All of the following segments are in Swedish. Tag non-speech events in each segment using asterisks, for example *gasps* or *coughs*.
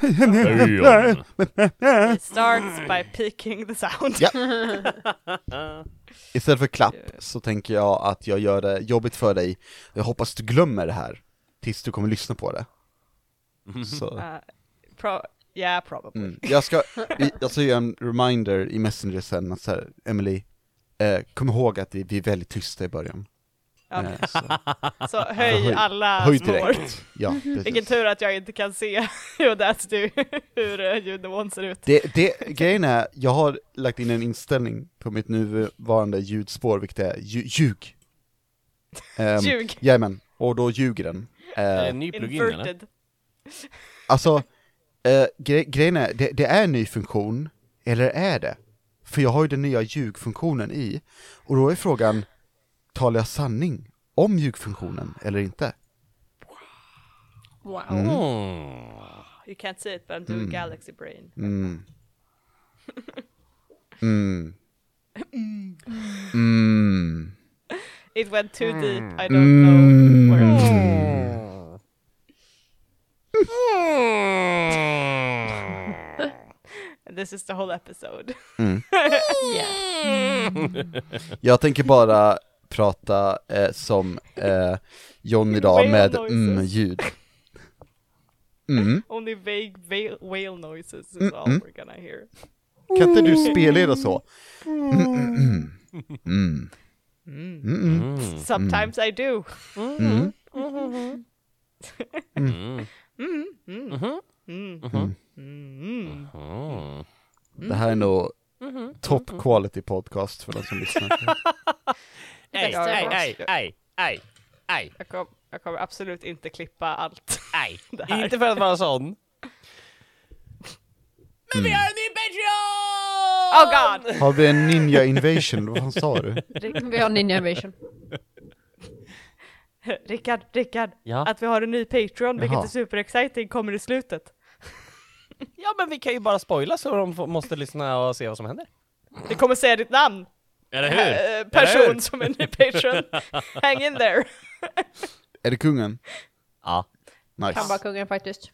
Damn. It starts by peaking the sound. Ja. Istället för klapp så tänker jag att jag gör det jobbigt för dig. Jag hoppas du glömmer det här tills du kommer lyssna på det. Så. *laughs* Uh, pro- yeah, probably. Mm. Jag ska, i- jag ska göra en reminder i Messenger sen att så här, Emily, eh, kom ihåg att vi vi är väldigt tysta i början. Ja. Eh, *laughs* så, Så höj höj- alla höj snår. direkt. Ja, Vilken precis. tur att jag inte kan se *laughs* hur, that's do, hur eh, ljudnivån ser ut. Det, det, grejen är, jag har lagt in en inställning på mitt nuvarande ljudspår, vilket är lju- ljug. Um, Ljug. Jajamän, och då ljuger den. Är det Eh, en ny plugin eller? Inverted. Alltså, eh, gre- grejen är, det, det är en ny funktion, eller är det? För jag har ju den nya ljugfunktionen i, och då är frågan, talar jag sanning om ljugfunktionen eller inte? Wow. Mm. You can't see it but I'm doing galaxy brain. Mm. Mm. Mm. It went too Mm. deep, I don't know Mm. where it And This is the whole episode. Mm. *laughs* Jag tänker bara prata eh, som eh, John idag Whale med noises. mm-ljud. Mm. Only vague whale, whale noises is all we're gonna hear. Kan inte du spelleda så? Mm. Mm. Sometimes I do. Det här är nog top quality podcast för de som lyssnar. Ej, Jag ej, har- ej, ej, ej, ej, Jag, kom, jag kommer absolut inte klippa allt. ej. Det här. Inte för att vara sån. Men vi har en ny Patreon! Oh god! Har vi en ninja invasion? Vad fan sa du? Vi har Ninja Invasion. *laughs* Rickard, Rickard. Ja? Att vi har en ny Patreon, vilket Jaha. är superexciting, kommer i slutet. ja, men vi kan ju bara spoila så de får- måste lyssna och se vad som händer. Vi kommer säga ditt namn, Eller eh, Eller person hur? som är ny Patreon. *laughs* Hang in there! Är det kungen? Ja. Kan Nice. vara kungen faktiskt.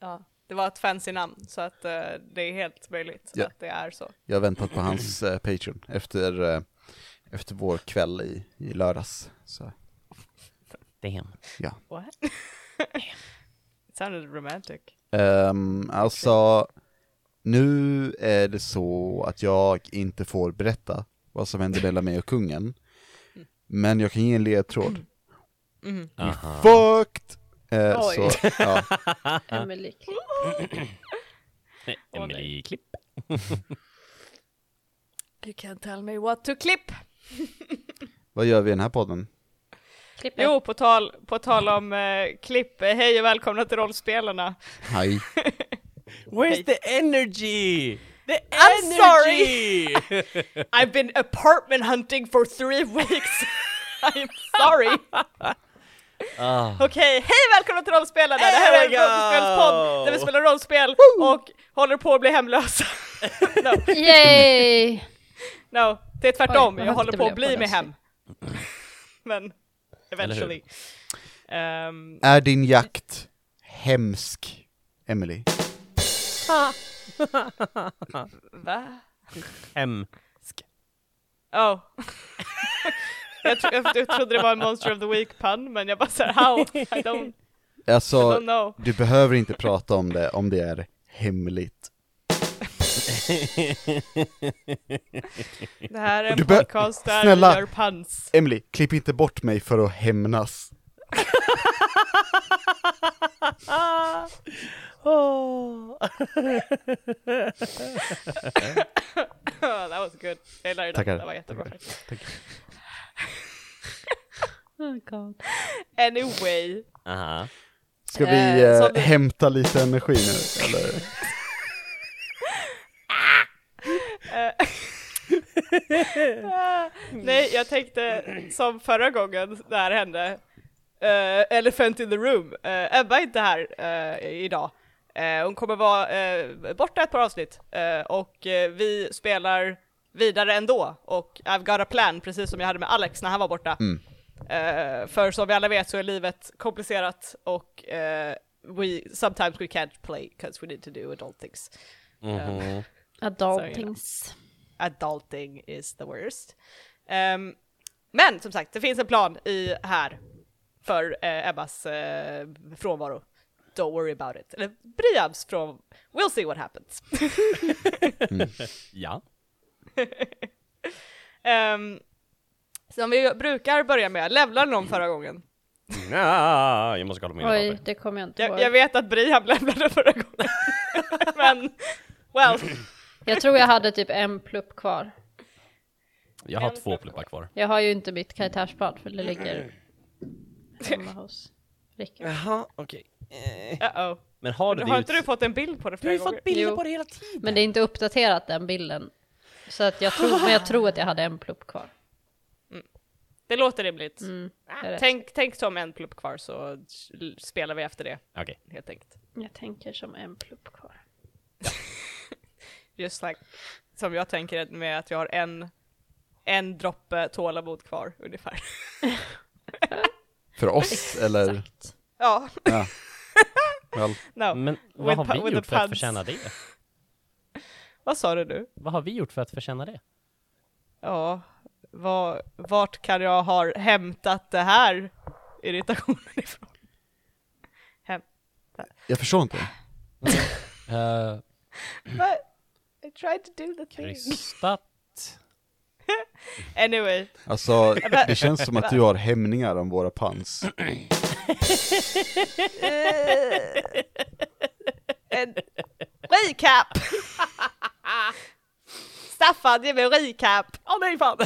Ja, det var ett fancy namn, så att eh, det är helt möjligt Ja. att det är så. Jag har väntat på hans eh, Patreon efter, eh, efter vår kväll i, i lördags. Så, Damn. ja. What? *laughs* It sounded romantic. Ehm, alltså, nu är det så att jag inte får berätta vad som händer mellan mig och kungen. Men jag kan ge en ledtråd. Aha. Fucked! Eh, Oj. så, ja. Emily. Emily Klipp. *clears throat* You can tell me what to clip! Vad gör vi i den här podden? Klipper. Jo, på tal, på tal om eh, klipp, eh, hej och välkomna till Rollspelarna! Hej. Where's the energy? The I'm energy! I've been apartment hunting for *laughs* three weeks! I'm sorry! *laughs* Ah. Okej, hej välkomna till Rollspelarna! Det här är There en we go! rollspelspodd där vi spelar rollspel och håller på att bli *laughs* hemlösa. no, Yay! no, det är tvärtom, Oj, vad jag håller högt på det att blev bli på med den hem. *laughs* Men, eventually. *laughs* Ehm, Är din jakt hemsk, Emily? va? M. Oh. *laughs* jag, tro, jag, jag trodde det var en Monster of the Week-pun, men jag bara såhär, how? I don't, I Alltså, don't know. du behöver inte prata om det om det är hemligt. Det här är en Du bör- podcast där Snälla. vi *laughs* gör puns. Emily, klipp inte bort mig för att hämnas. *laughs* Oh, that was good. Jag gillar det. Tackar. Det var jättebra faktiskt. *laughs* Oh God. Anyway. *laughs* Aha. Ska vi Eh, som eh, vi- hämta lite energi nu, eller? Nej, jag tänkte som förra gången det här hände, eh, Elephant in the room, Eh, Ebba är inte här eh, idag. Eh, hon kommer vara eh, borta ett par avsnitt eh, och eh, vi spelar vidare ändå och I've got a plan, precis som jag hade med Alex när han var borta. Eh, för som vi alla vet så är livet komplicerat och eh, we sometimes we can't play because we need to do adult things. Mhm. Adultings. Adulting is the worst. Ehm, men som sagt, det finns en plan i här för eh, Ebbas eh, frånvaro. Don't worry about it. Eller Briabs från... We'll see what happens. Ja. Ehm, som vi brukar börja med, levlade någon förra gången? ja. Jag måste kolla på mina Oj, papper. det kommer jag inte ihåg. Jag, Jag, jag vet att Briab *laughs* levlade förra gången. *laughs* men, well. tror jag hade typ en plupp kvar. Jag har två pluppar kvar. Jag har ju inte mitt kajtärsblad för det ligger hemma hos Rickard. Jaha, okej. Uh-oh. Men har du det Har ut- inte du fått en bild på det Du har flera ju gånger? fått bilder Jo. på det hela tiden. Men det är inte uppdaterat den bilden. Så att jag tror, men jag tror att jag hade en plupp kvar. Mm. Det låter rimligt. det Mm. är rätt. tänk, tänk som en plupp kvar så l- spelar vi efter det, Okej. helt enkelt. Jag tänker som en plupp kvar. Just like, som jag tänker med att jag har en, en droppe tålamod kvar ungefär. *laughs* För oss, eller? Exakt. ja, Ja. Väl. no. Men vad With har pu- vi with gjort the för att puns. förtjäna det? Vad sa du nu? Vad har vi gjort för att förtjäna det? Ja, vad, vart kan jag ha hämtat det här irritationen ifrån? Hem. Jag förstår inte. Eh, But I tried to do the thing. Krystat. Anyway. *laughs* Alltså, det känns som att du har hämningar om våra pans. Eh, en recap! Staffan, ge mig en recap! Åh nej fan!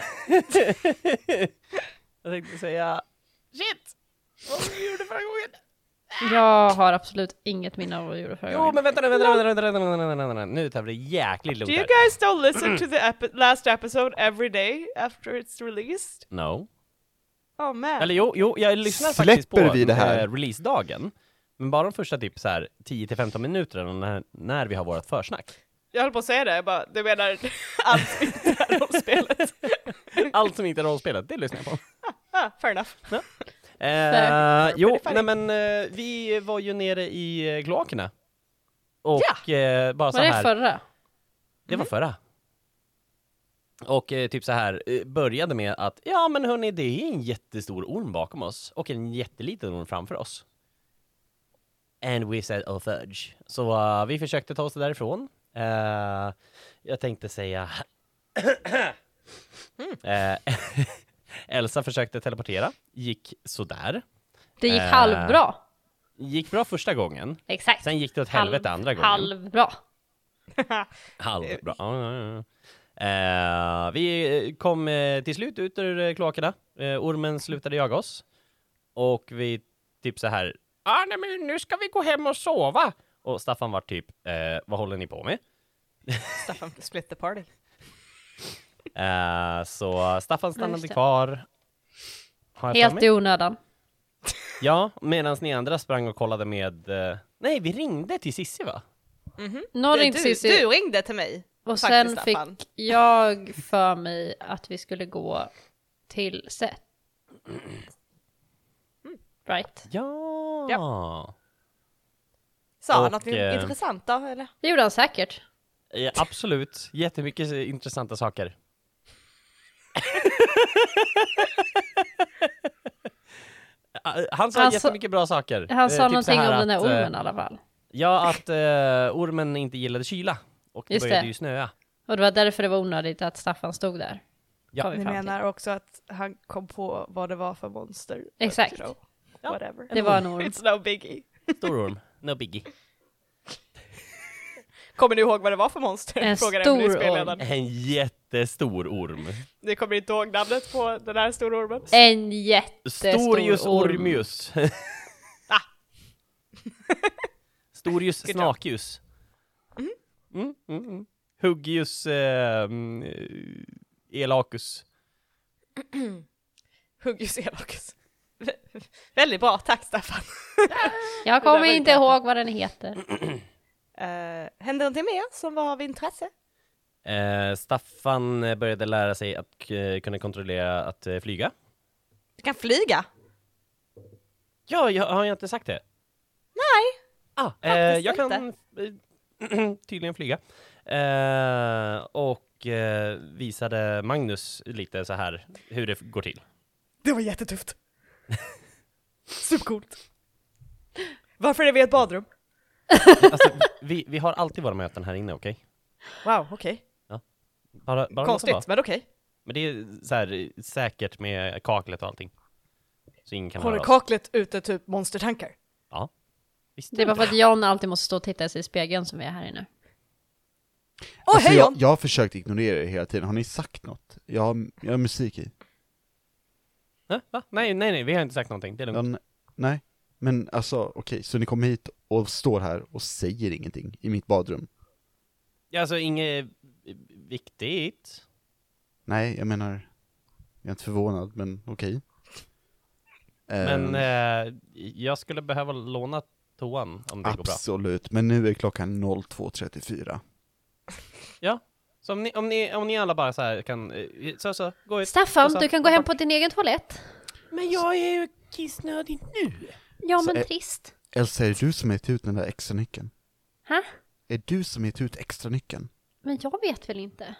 Jag tänkte säga... Shit! Vad var det vi gjorde förra gången? Jag har absolut inget minne av vad jag gjorde förra Jo gången. men vänta nu, vänta nu, vänta nu, vänta nu, vänta nu, vänta nu. Nu tar vi det jäkligt Do lugnt Mm. you här. guys don't listen to the epi- last episode every day after it's released? No. Oh man. Eller jo, jo jag lyssnar Släpper faktiskt på vi det här? eh, releasedagen. Men bara de första typ så här 10-15 minuterna när, när vi har vårt *laughs* försnack. Jag höll på att säga det, jag bara, du menar *laughs* allt som inte är *laughs* rollspelet? Allt som inte är rollspelet, det lyssnar jag på. ah, fair enough. Eh, Fair. jo, Pretty funny. nej men eh, vi var ju nere i eh, Gloakerna. Och eh, bara så Var det här, förra? det var förra. Och eh, typ så här, eh, började med att ja men hörni, det är en jättestor orm bakom oss och en jätteliten orm framför oss. And we said oh fudge. Så eh, vi försökte ta oss därifrån. Eh, jag tänkte säga... Mm. Eh, *laughs* Elsa försökte teleportera, gick sådär. Det gick Eh, halvbra. Gick bra första gången, Exakt. sen gick det åt helvete andra gången. Halvbra. Halvbra. Ja, ja, ja. Eh, vi eh, kom eh, till slut ut ur eh, kloakerna. Eh, ormen slutade jaga oss. Och vi typ så här. Ah, nej, men nu ska vi gå hem och sova. Och Staffan var typ, eh, vad håller ni på med? Staffan, split the party. Eh, så Staffan just stannade det. kvar. Har jag för Helt mig? i onödan. Ja, medan ni andra sprang och kollade med... Eh, nej, vi ringde till Sissi va? Någon Du, ringde du, Cissi. du ringde till mig. Och sen faktiskt, fick Staffan. jag för mig att vi skulle gå till set. Right. Ja. Sa han och, något eh, intressant då, eller? Det gjorde han säkert. Eh, absolut. Jättemycket eh, intressanta saker. *laughs* Eh, Han sa Han sa- jättemycket bra saker. Eh, Han sa typ så någonting här om att, den här eh, ormen i alla fall. Ja, att eh, ormen inte gillade kyla. Och det Just började det. ju snöa. Och det var därför det var onödigt att Staffan stod där. Ja. Kom vi Ni fram till. menar också att han kom på vad det var för monster? but, Exakt. you know, whatever. Det var en orm. It's no biggie. Stor orm. No biggie. Kommer ni ihåg vad det var för monster? En Frågar stor Emily spelledaren. En jättestor orm. Ni kommer inte ihåg namnet på den här stora ormen? En jättestor Storius orm. ormius. *laughs* Storius Ah! job. Mm-hmm. snakius. Mm, mm, mm. Huggius eh, mm, eh, elacus. Huggius Elakus. Vä- *laughs* Väldigt bra, tack Staffan. Jag Det där var kommer inte inte bra. ihåg vad den heter. Uh, hände någonting mer som var av intresse? Eh, Staffan eh, började lära sig att eh, kunna kontrollera att eh, flyga. Du kan flyga? Ja, jag, har jag inte sagt det? Nej. Ah, eh, Faktiskt jag kan eh, *clears throat* tydligen flyga. Eh, och eh, visade Magnus lite så här hur det f- går till. Det var jättetufft. *laughs* Supercoolt. Varför är vi i ett badrum? Alltså, vi, vi har alltid våra möten här inne, okej? Wow, okej. Bara, bara låt det vara. Konstigt, men okej. Men det är så här eh, säkert med kaklet och allting. Så ingen kan Håller höra oss. kaklet ute typ monstertankar? Visst Det är bara för att John alltid måste stå och titta sig i spegeln som vi är här inne. Åh, alltså, hej jag, John! jag har försökt ignorera det hela tiden, har ni sagt något? Jag har, jag har musik i. Hä? Va? Nej, nej, nej, vi har inte sagt någonting. Det är Ja, lugnt. n- nej, men alltså okej, så ni kommer hit och står här och säger ingenting i mitt badrum? Ja. Alltså, inget eh, viktigt. Nej, jag menar, jag är inte förvånad, men okej. Ehm, Men eh, jag skulle behöva låna toan om det går bra. absolut, men nu är klockan 02.34. Ja. Så om ni, om ni, om ni alla bara så här kan, eh, så så, gå ut. Staffan, Och så- du kan gå hem på din egen toalett. Men jag är ju kissnödig nu! Ja, Så är- men trist. Elsa, är det du som gett ut den där extra nyckeln? Hä? Är det du som gett ut extra nyckeln? Men jag vet väl inte?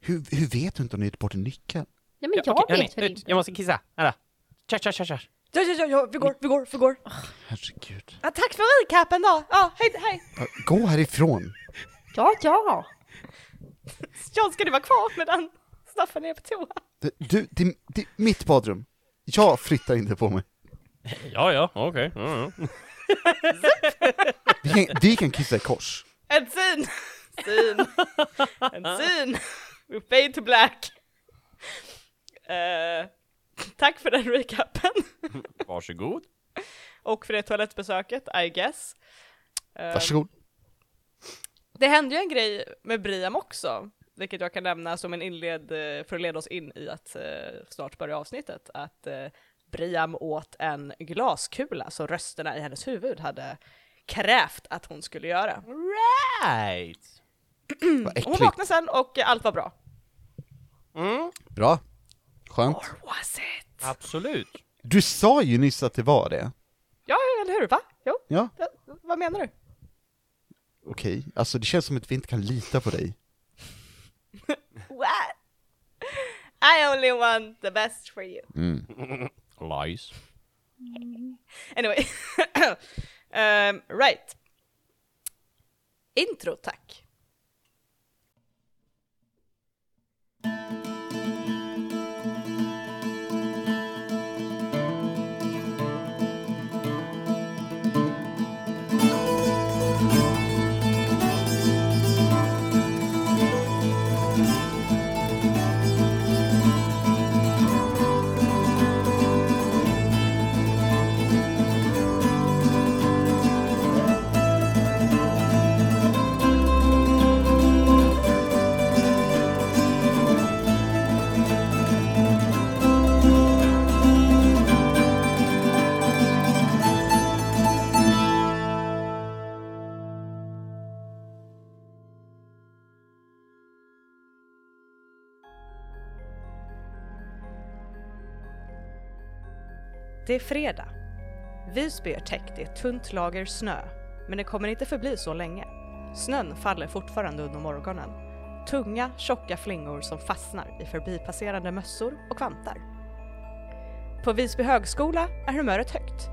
Hur, hur vet du inte om du gett bort en nyckel? Ja, men jag okej, vet hörni, väl ut. inte. Jag måste kissa, Alla. Kör, kör, kör, kör! Ja, ja, ja, ja, vi går, vi går, vi går. Herregud. Ja, tack för recapen då! Ja, hej, hej! Ja, Gå härifrån! Ja, ja. John, ska du vara kvar medan Staffan är på toa? Det- Du, det, det är mitt badrum. Jag flyttar inte på mig. Ja, ja, okej. Mm, mm. Vi kan, vi kan kissa i kors. En syn! Syn! En syn! We fade to black! Eh, tack för den recapen, Varsågod. och för det toalettbesöket, I guess. Eh, Varsågod. det hände ju en grej med Briam också, vilket jag kan nämna som en inled, eh, för att leda oss in i att eh, snart börja avsnittet, att eh, Briam åt en glaskula så rösterna i hennes huvud hade krävt att hon skulle göra. Right! Vad Och Hon äckligt. vaknade sen och eh, allt var bra. Mm, Bra. Skönt. Or was it? absolut. Du sa ju nyss att det var det. Ja, eller hur? Va? Jo, Ja, ja, vad menar du? okej. Alltså det känns som att vi inte kan lita på dig. What? I only want the best for you. Lies. Anyway. *coughs* Ehm, right. Intro, tack. Det är fredag. Visby är täckt i ett tunt lager snö, men det kommer inte förbli så länge. Snön faller fortfarande under morgonen. Tunga, tjocka flingor som fastnar i förbipasserande mössor och kvantar. På Visby högskola är humöret högt.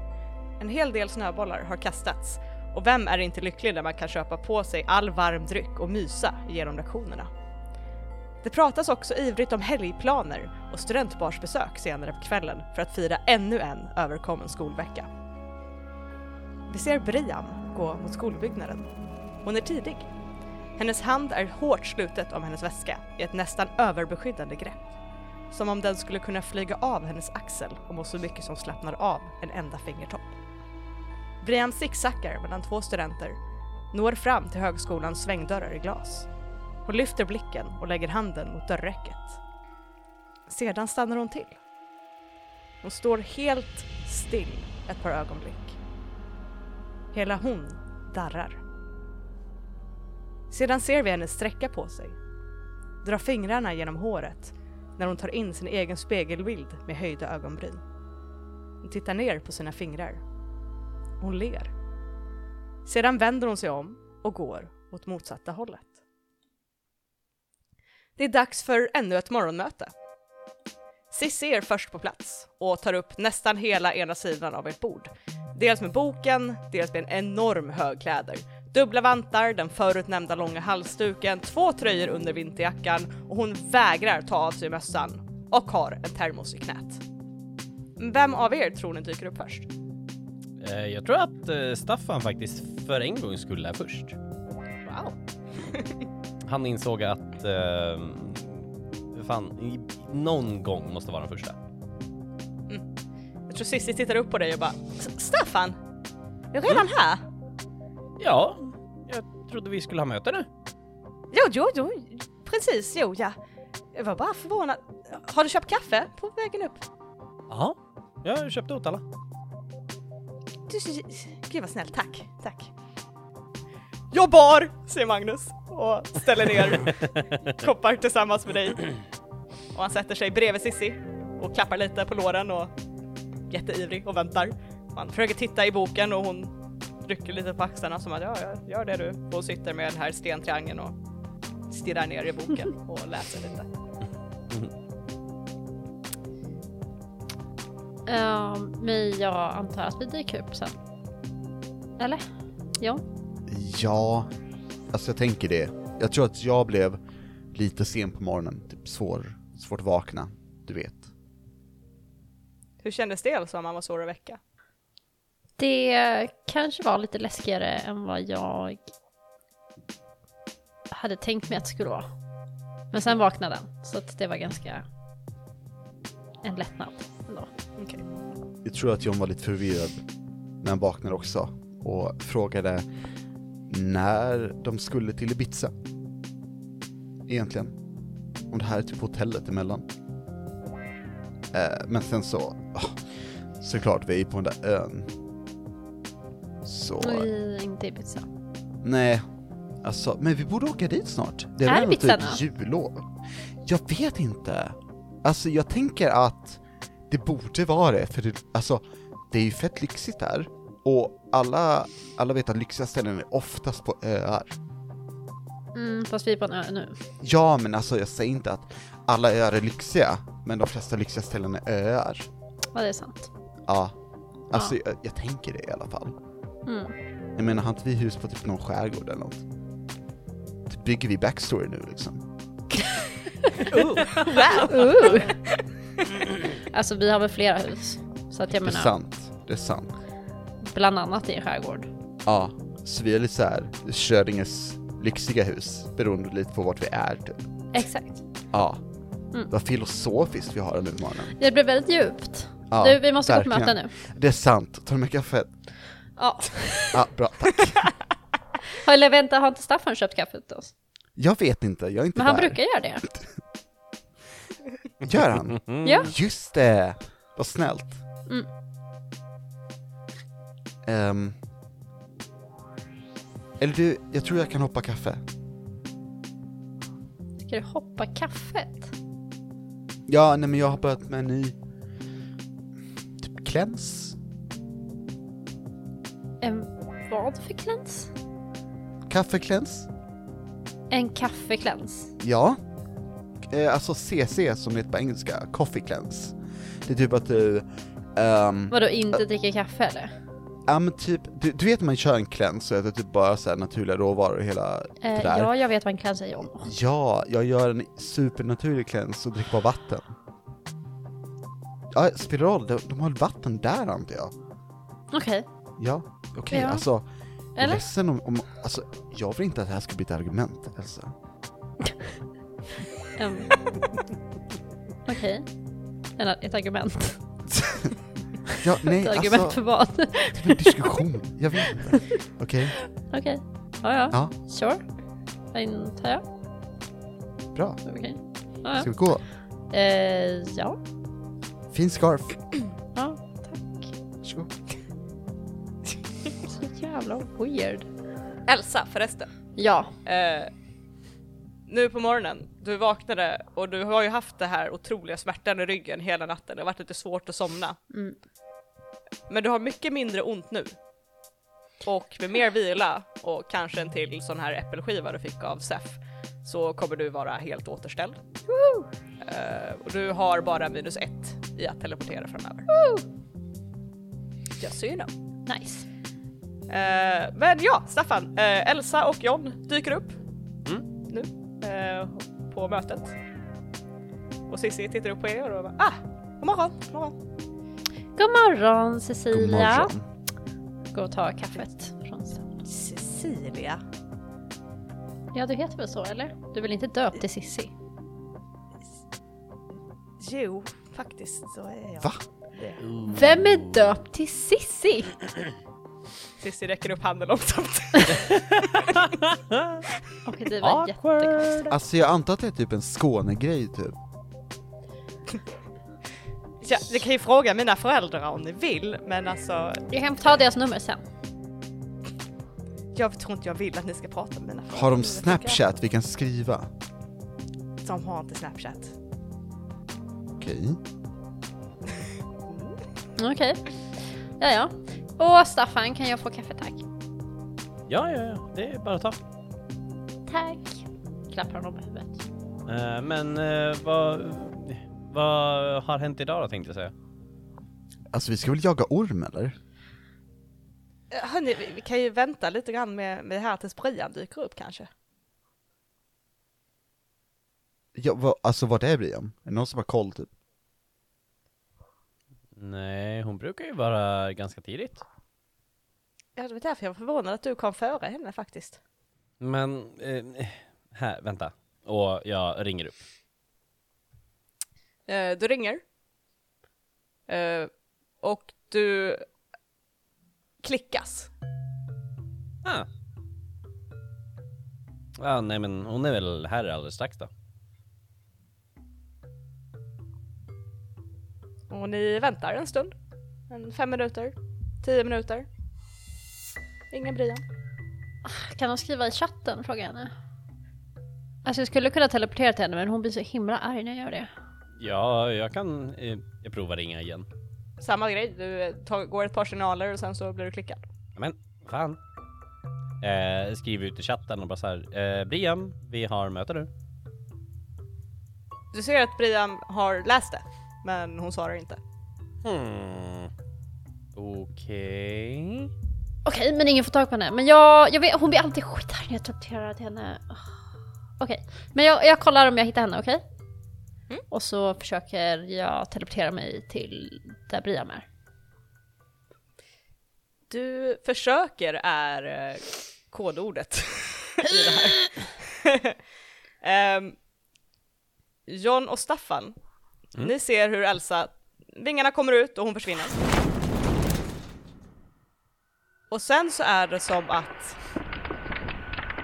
En hel del snöbollar har kastats och vem är inte lycklig när man kan köpa på sig all varm dryck och mysa genom lektionerna? Det pratas också ivrigt om helgplaner och studentbarsbesök senare på kvällen för att fira ännu en överkommen skolvecka. Vi ser Briam gå mot skolbyggnaden. Hon är tidig. Hennes hand är hårt slutet om hennes väska i ett nästan överbeskyddande grepp. Som om den skulle kunna flyga av hennes axel om så mycket som slappnar av en enda fingertopp. Briam sicksackar mellan två studenter, når fram till högskolans svängdörrar i glas hon lyfter blicken och lägger handen mot dörrräcket. Sedan stannar hon till. Hon står helt still ett par ögonblick. Hela hon darrar. Sedan ser vi henne sträcka på sig, dra fingrarna genom håret när hon tar in sin egen spegelbild med höjda ögonbryn. Hon tittar ner på sina fingrar. Hon ler. Sedan vänder hon sig om och går åt motsatta hållet. Det är dags för ännu ett morgonmöte. Cissi är först på plats och tar upp nästan hela ena sidan av ert bord. Dels med boken, dels med en enorm hög kläder. Dubbla vantar, den förut nämnda långa halsduken, två tröjor under vinterjackan och hon vägrar ta av sig mössan och har en termos i knät. Vem av er tror ni dyker upp först? Eh, Jag tror att eh, Staffan faktiskt för en gång skulle är först. Wow. Han insåg att... Eh, fan, i- någon gång måste vara den första. Jag tror Cissi tittar upp på dig och bara "S- Staffan, är du redan här? Ja, jag trodde vi skulle ha möte nu. Jo, jo, jo, precis, jo, ja. Jag var bara förvånad. Har du köpt kaffe på vägen upp? Ja, jag köpte åt alla. Du, gud vad snäll, tack, tack. Jag bar, säger Magnus och ställer ner koppar tillsammans med dig. Och han sätter sig bredvid Sissi och klappar lite på låren och jätteivrig och väntar. Och han försöker titta i boken och hon rycker lite på axlarna som att ja, ja, gör det du. Och hon sitter med den här stentriangeln och stirrar ner i boken och läser lite. Ja, Ehm, men jag antar att vi dyker upp sen. Eller? Ja. Ja, alltså jag tänker det. Jag tror att jag blev lite sen på morgonen, typ svår, svårt att vakna, du vet. Hur kändes det alltså om man var svår att väcka? Det kanske var lite läskigare än vad jag hade tänkt mig att det skulle vara. Men sen vaknade den, så att det var ganska en lättnad ändå. Okej. Jag tror att John var lite förvirrad när han vaknade också och frågade när de skulle till Ibiza. Egentligen. Om det här är typ hotellet emellan. Eh, men sen så, ah, såklart vi är på den där ön. Så, I, inte Ibiza. nej. Alltså, men vi borde åka dit snart. Det är Är väl ändå Ibiza typ jullov? Jag vet inte. Alltså jag tänker att det borde vara det, för det, alltså, det är ju fett lyxigt där. Och alla, alla vet att lyxiga ställen är oftast på öar. Mm, fast vi är på en ö nu. Ja, men alltså jag säger inte att alla öar är lyxiga, men de flesta lyxiga ställen är öar. Ja, det är sant. Ja. Alltså Ja. Jag, jag tänker det i alla fall. Mm. Jag menar, har inte vi hus på typ någon skärgård eller något? Typ bygger vi backstory nu liksom? *laughs* Wow! Ooh. alltså vi har väl flera hus. Så att Det jag är menar, sant. Det är sant. bland annat i en skärgård. Ja, så vi är lite såhär Schrödingers lyxiga hus, beroende lite på vart vi är typ. Exakt. Ja. Mm. Vad filosofiskt vi har den utmaningen. Det blev väldigt djupt. Ja, du, vi måste gå på verkligen. möte nu. Det är sant, ta med kaffet. Ja. Ja, bra, tack. Eller vänta, har inte Staffan köpt kaffe åt oss? Jag vet inte, jag är inte Men han där. brukar göra det. Gör han? Ja. Just det! Vad snällt. Mm. Ehm. eller du, jag tror jag kan hoppa kaffe. Ska du hoppa kaffet? Ja, nej men jag har börjat med en ny... Typ kläns? En vad för kläns? Kaffekläns? En kaffekläns. Ja. Eh, alltså CC som det heter på engelska, coffee cleanse. Det är typ att du, ehm, Vadå, inte dricka kaffe eller? ja men typ, du, du vet när man kör en cleanse så är det typ bara så här naturliga råvaror och hela Eh, det där. ja, jag vet vad en kläns är John. Ja, jag gör en supernaturlig cleanse och dricker bara vatten. Ja, spiral, de, de har vatten där antar jag. Okej, Ja, okej, Ja. alltså. Jag är Eller? ledsen om, om, alltså jag vill inte att det här ska bli ett argument, Elsa. Em, Okej. En- Ett argument. Ja, nej, *laughs* Ett argument alltså, för vad? *laughs* det blir en diskussion. Jag vet inte. Okej. Okej. Ja, ja. Ja. Sure. Antar jag. Bra, Okej. Ja, ska vi gå? ja. Eh, ja. Fin scarf. *clears throat* Ja, tack. Varsågod. Så jävla weird. Elsa förresten. Ja. Eh, nu på morgonen, du vaknade och du har ju haft det här otroliga smärtan i ryggen hela natten, det har varit lite svårt att somna. Mm. Men du har mycket mindre ont nu. Och med mer vila och kanske en till sån här äppelskiva du fick av Sef så kommer du vara helt återställd. Eh, och du har bara minus ett i att teleportera framöver. Just so you know. Nice. Eh, men ja, Staffan, eh, Elsa och John dyker upp Mm. nu eh, på mötet. Och Cissi tittar upp på er och bara ah, god morgon, god morgon. God morgon God Cecilia. morgon. Gå och ta kaffet från Cecilia. Ja, du heter väl så eller? Du vill inte döpt till Sissi? Jo, faktiskt så är jag. Va? Vem är döpt till Sissi? Cissi räcker upp handen långsamt. Okej, det var jättekonstigt. Alltså jag antar att det är typ en Skånegrej typ. *laughs* ja, ni kan ju fråga mina föräldrar om ni vill, men alltså Jag kan ta deras nummer sen. jag tror inte jag vill att ni ska prata med mina föräldrar. Har de nu, tycker jag. Snapchat vi kan skriva? De har inte Snapchat. Okej. Okej. Ja, ja. Och Staffan, kan jag få kaffe tack? Ja, ja, ja, det är bara att ta. Tack. Klappar honom på huvudet. Eh, men eh, vad, vad har hänt idag då tänkte jag säga? Alltså vi ska väl jaga orm eller? Eh, Hörni, vi, vi kan ju vänta lite grann med, med det här tills Brian dyker upp kanske. Ja, va, alltså vart är Brian? Är det någon som har koll typ? Nej, hon brukar ju vara ganska tidigt. Ja, det var därför jag var förvånad att du kom före henne faktiskt. Men, eh, här, vänta. Och jag ringer upp. Eh, du ringer. Eh, och du klickas. Ah. ah, nej men hon är väl här alldeles strax då. Och ni väntar en stund. En fem minuter, tio minuter. Ingen Brian. Kan de skriva i chatten? Frågar jag henne. Alltså jag skulle kunna teleportera till henne men hon blir så himla arg när jag gör det. Ja, jag kan, eh, jag provar ringa igen. Samma grej, du eh, tar, går ett par signaler och sen så blir du klickad. Men, fan. Eh, skriver ut i chatten och bara så här, eh, Brian, vi har möte nu. Du ser att Brian har läst det, men hon svarar inte. Hmm. Okej. Okej, men ingen får tag på henne. Men jag, jag vet, hon blir alltid skitarg när jag teleporterar till henne. Åh. Okej, men jag, jag kollar om jag hittar henne, okej? Och så försöker jag teleportera mig till där Brian är. Du försöker är eh, kodordet i det här. Ehm, John och Staffan, ni ser hur Elsa, vingarna kommer ut och hon försvinner. Och sen så är det som att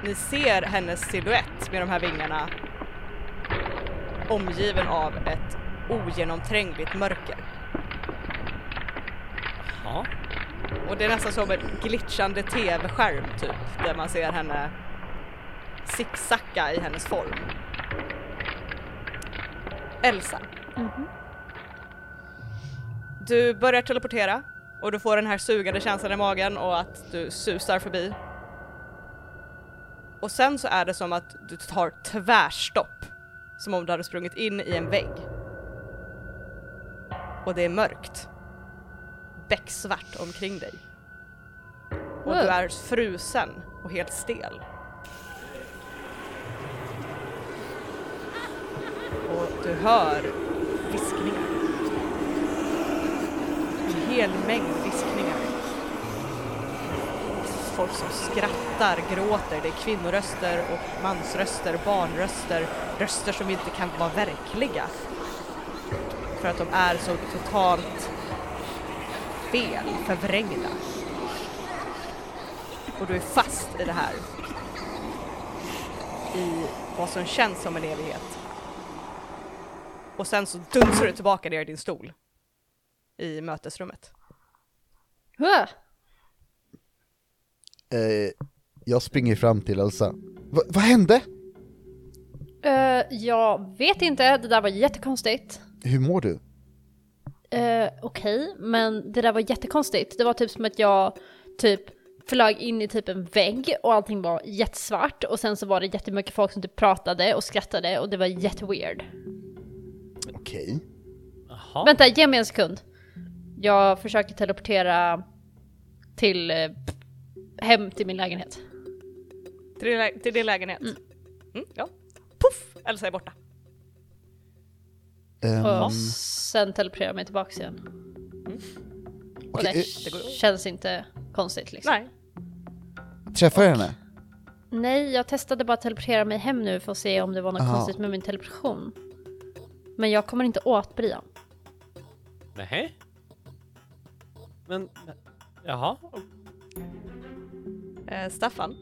ni ser hennes silhuett med de här vingarna omgiven av ett ogenomträngligt mörker. Ja. Och det är nästan som en glitchande tv-skärm typ, där man ser henne zigzacka i hennes form. Elsa. Du börjar teleportera och du får den här sugande känslan i magen och att du susar förbi. Och sen så är det som att du tar tvärstopp, som om du hade sprungit in i en vägg. Och det är mörkt becksvart omkring dig. Och Wow. du är frusen och helt stel. Och du hör viskningar. En hel mängd viskningar. Folk som skrattar, gråter, det är kvinnoröster och mansröster, barnröster, röster som inte kan vara verkliga. För att de är så totalt fel, förvrängda. Och du är fast i det här. I vad som känns som en evighet. Och sen så dunsar du tillbaka ner i din stol. I mötesrummet. Huh. Eh, jag springer fram till Elsa. Va, vad hände? Eh, jag vet inte, det där var jättekonstigt. Hur mår du? Eh, Okej, men det där var jättekonstigt. Det var typ som att jag typ flög in i typ en vägg och allting var jättesvart och sen så var det jättemycket folk som typ pratade och skrattade och det var jätteweird. Okej. Jaha. Vänta, ge mig en sekund. Jag försöker teleportera till eh, hem till min lägenhet. Till din, lä- till din lägenhet. Mm, ja. Puff! Elsa är borta. Ehm, Och sen teleporterar jag mig tillbaks igen. Och Mm. okej, eh, det, känns inte konstigt liksom. Nej. Ehm, Träffar jag henne? Nej, jag testade bara att teleportera mig hem nu för att se om det var något Aha. konstigt med min teleportation. Men jag kommer inte åt Brian. Nähä? Men, jaha? Eh, Staffan.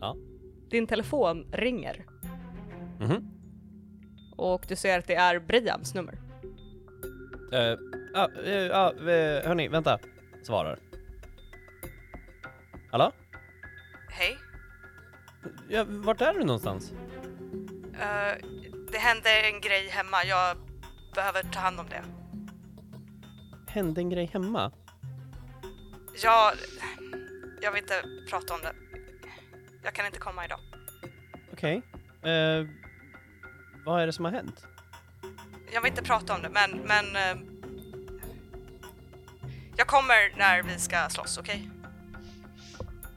Ja. Din telefon ringer. Mhm. Och du ser att det är Briams nummer. Eh, ah, eh, ah, eh, hörni, vänta. Svarar. Hallå? Hej. Ja, vart är du någonstans? Eh, det hände en grej hemma. Jag behöver ta hand om det. Hände en grej hemma? Jag... Jag vill inte prata om det. Jag kan inte komma idag. Okej. Eh, vad är det som har hänt? Jag vill inte prata om det, men... men eh, jag kommer när vi ska slåss, okej?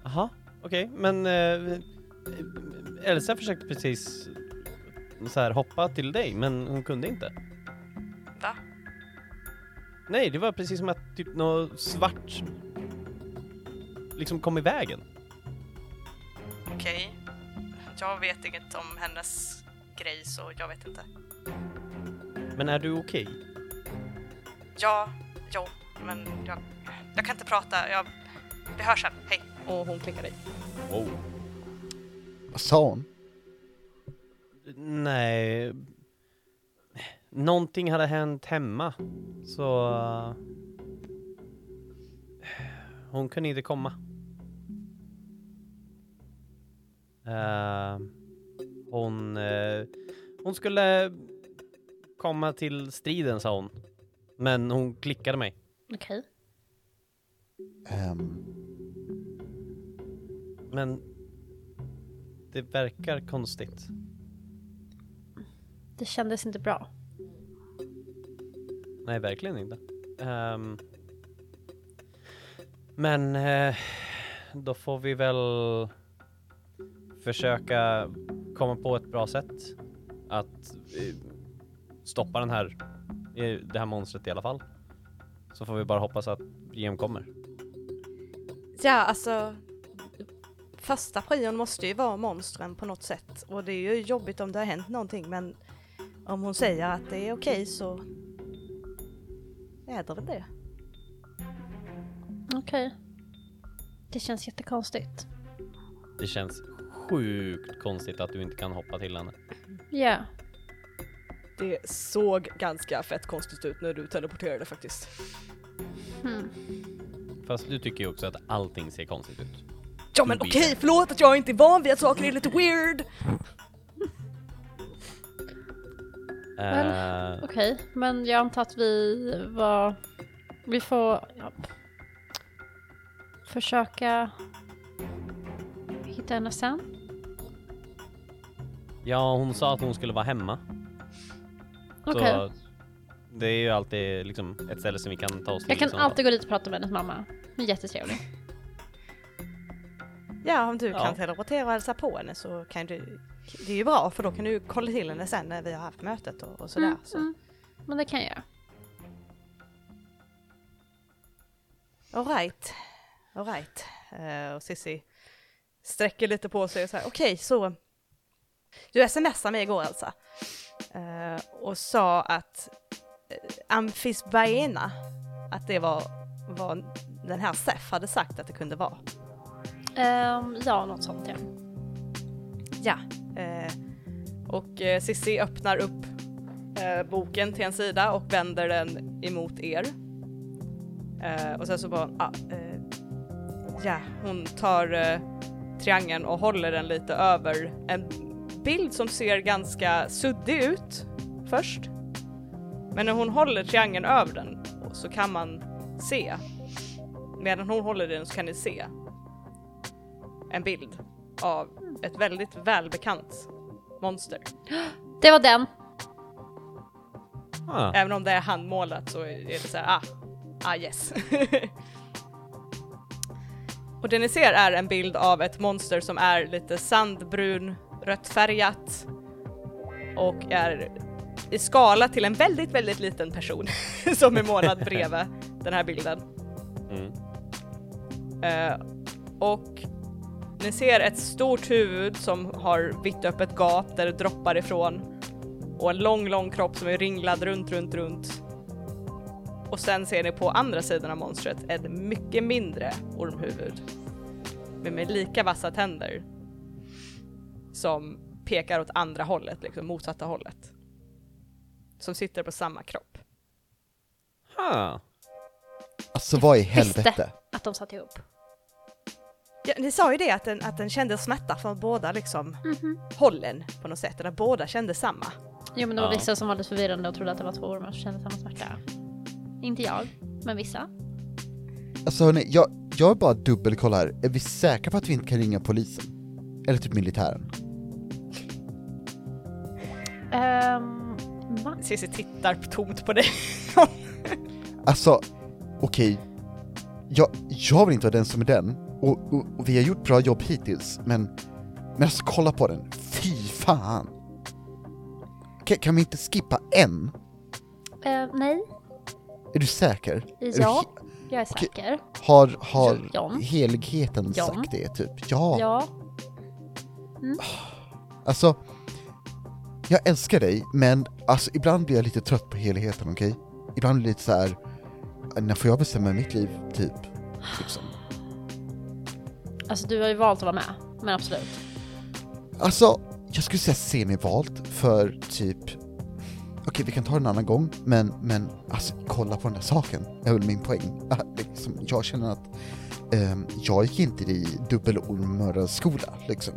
Jaha, okej, men eh, Elsa försökte precis så här hoppa till dig, men hon kunde inte. Va? Nej, det var precis som att typ något svart liksom kom i vägen. Okej. Jag vet inget om hennes grej, så jag vet inte. Men är du okej? Ja, jo, men jag, jag kan inte prata. Jag, vi hörs sen. Hej. Och hon klickar dig. Wow. Vad sa hon? Nej. Någonting hade hänt hemma, så... eh, Hon kunde inte komma. Eh, hon... eh, hon skulle komma till striden, sa hon. Men hon klickade mig. Okej. Ehm, Men... Det verkar konstigt. Det kändes inte bra. Nej, verkligen inte. Ehm, men eh, då får vi väl försöka komma på ett bra sätt att eh, stoppa den här, eh, det här monstret i alla fall. Så får vi bara hoppas att GM kommer. Ja, alltså. Första prion måste ju vara monstren på något sätt. Och det är ju jobbigt om det har hänt någonting men om hon säger att det är okej så är det väl det. Okej. Det känns jättekonstigt. Det känns sjukt konstigt att du inte kan hoppa till henne. Ja. Det såg ganska fett konstigt ut när du teleporterade faktiskt. Hmm. Fast du tycker ju också att allting ser konstigt ut. Ja men okej, förlåt att jag inte är van vid att saker är lite weird! Eh, Okej, men jag antar att vi var... Vi får... Ja, försöka hitta henne sen. Ja, hon sa att hon skulle vara hemma. Okej. Så det är ju alltid liksom ett ställe som vi kan ta oss till. Jag kan liksom. alltid gå dit och prata med hennes mamma. Hon är jättetrevlig. Ja om du Ja. kan teleportera och hälsa på henne så kan du Det är ju bra för då kan du kolla till henne sen när vi har haft mötet och, och sådär. Mm, Så. mm. Men det kan jag göra. Alright. Alright. Eh, och Sissi sträcker lite på sig och säger okej så. Du smsade mig igår Elsa. Eh, och sa att uh, Amphis-Baena, att det var vad den här Sef hade sagt att det kunde vara. Ehm, ja, något sånt ja. Ja. Eh, och eh, Sissi öppnar upp eh, boken till en sida och vänder den emot er. Eh, och sen så bara, ah, eh, ja, hon tar eh, triangeln och håller den lite över en bild som ser ganska suddig ut först. Men när hon håller triangeln över den så kan man se. Medan hon håller den så kan ni se en bild av ett väldigt välbekant monster. Det var den. Ah. Även om det är handmålat så är det så här, ah, ah yes. *laughs* och det ni ser är en bild av ett monster som är lite sandbrun, röttfärgat och är i skala till en väldigt, väldigt liten person *laughs* som är målad bredvid den här bilden. Mm. Eh, och ni ser ett stort huvud som har vitt öppet gap där det droppar ifrån och en lång, lång kropp som är ringlad runt, runt, runt. Och sen ser ni på andra sidan av monstret ett mycket mindre ormhuvud men med lika vassa tänder som pekar åt andra hållet, liksom motsatta hållet. Som sitter på samma kropp. Ah. Alltså vad i Visste. helvete? Att de satt ihop. Ja, ni sa ju det att den, att den kände smärta från båda liksom Mhm. hållen på något sätt, eller båda kände samma. Jo men det var Ja. vissa som var lite förvirrande och trodde att det var två ormar som kände samma smärta. Inte jag, men vissa. Alltså hörni, jag, jag bara dubbelkollar här. Är vi säkra på att vi inte kan ringa polisen? Eller typ militären? Um, va? Cissi tittar tomt på dig. Alltså, okej. Jag, jag vill inte vara den som är den. Och, och, och vi har gjort bra jobb hittills, men... Men alltså kolla på den. Fy fan! Kan, kan vi inte skippa en? Eh, nej, Är du säker? Är du Ja. he- jag är Okej. säker. har har Jan. heligheten Jan. sagt det, typ? Ja. Ja. Alltså, jag älskar dig, men alltså, ibland blir jag lite trött på heligheten, okej? Ibland blir det lite så här. när får jag bestämma i mitt liv, typ? Liksom. Alltså du har ju valt att vara med, men absolut. Alltså, jag skulle säga semivalt för typ... Okej, vi kan ta det en annan gång, men, men alltså kolla på den där saken. Jag höll min poäng. *laughs* Ah, Liksom, jag känner att ehm, jag gick inte i dubbelormmördarskola, liksom.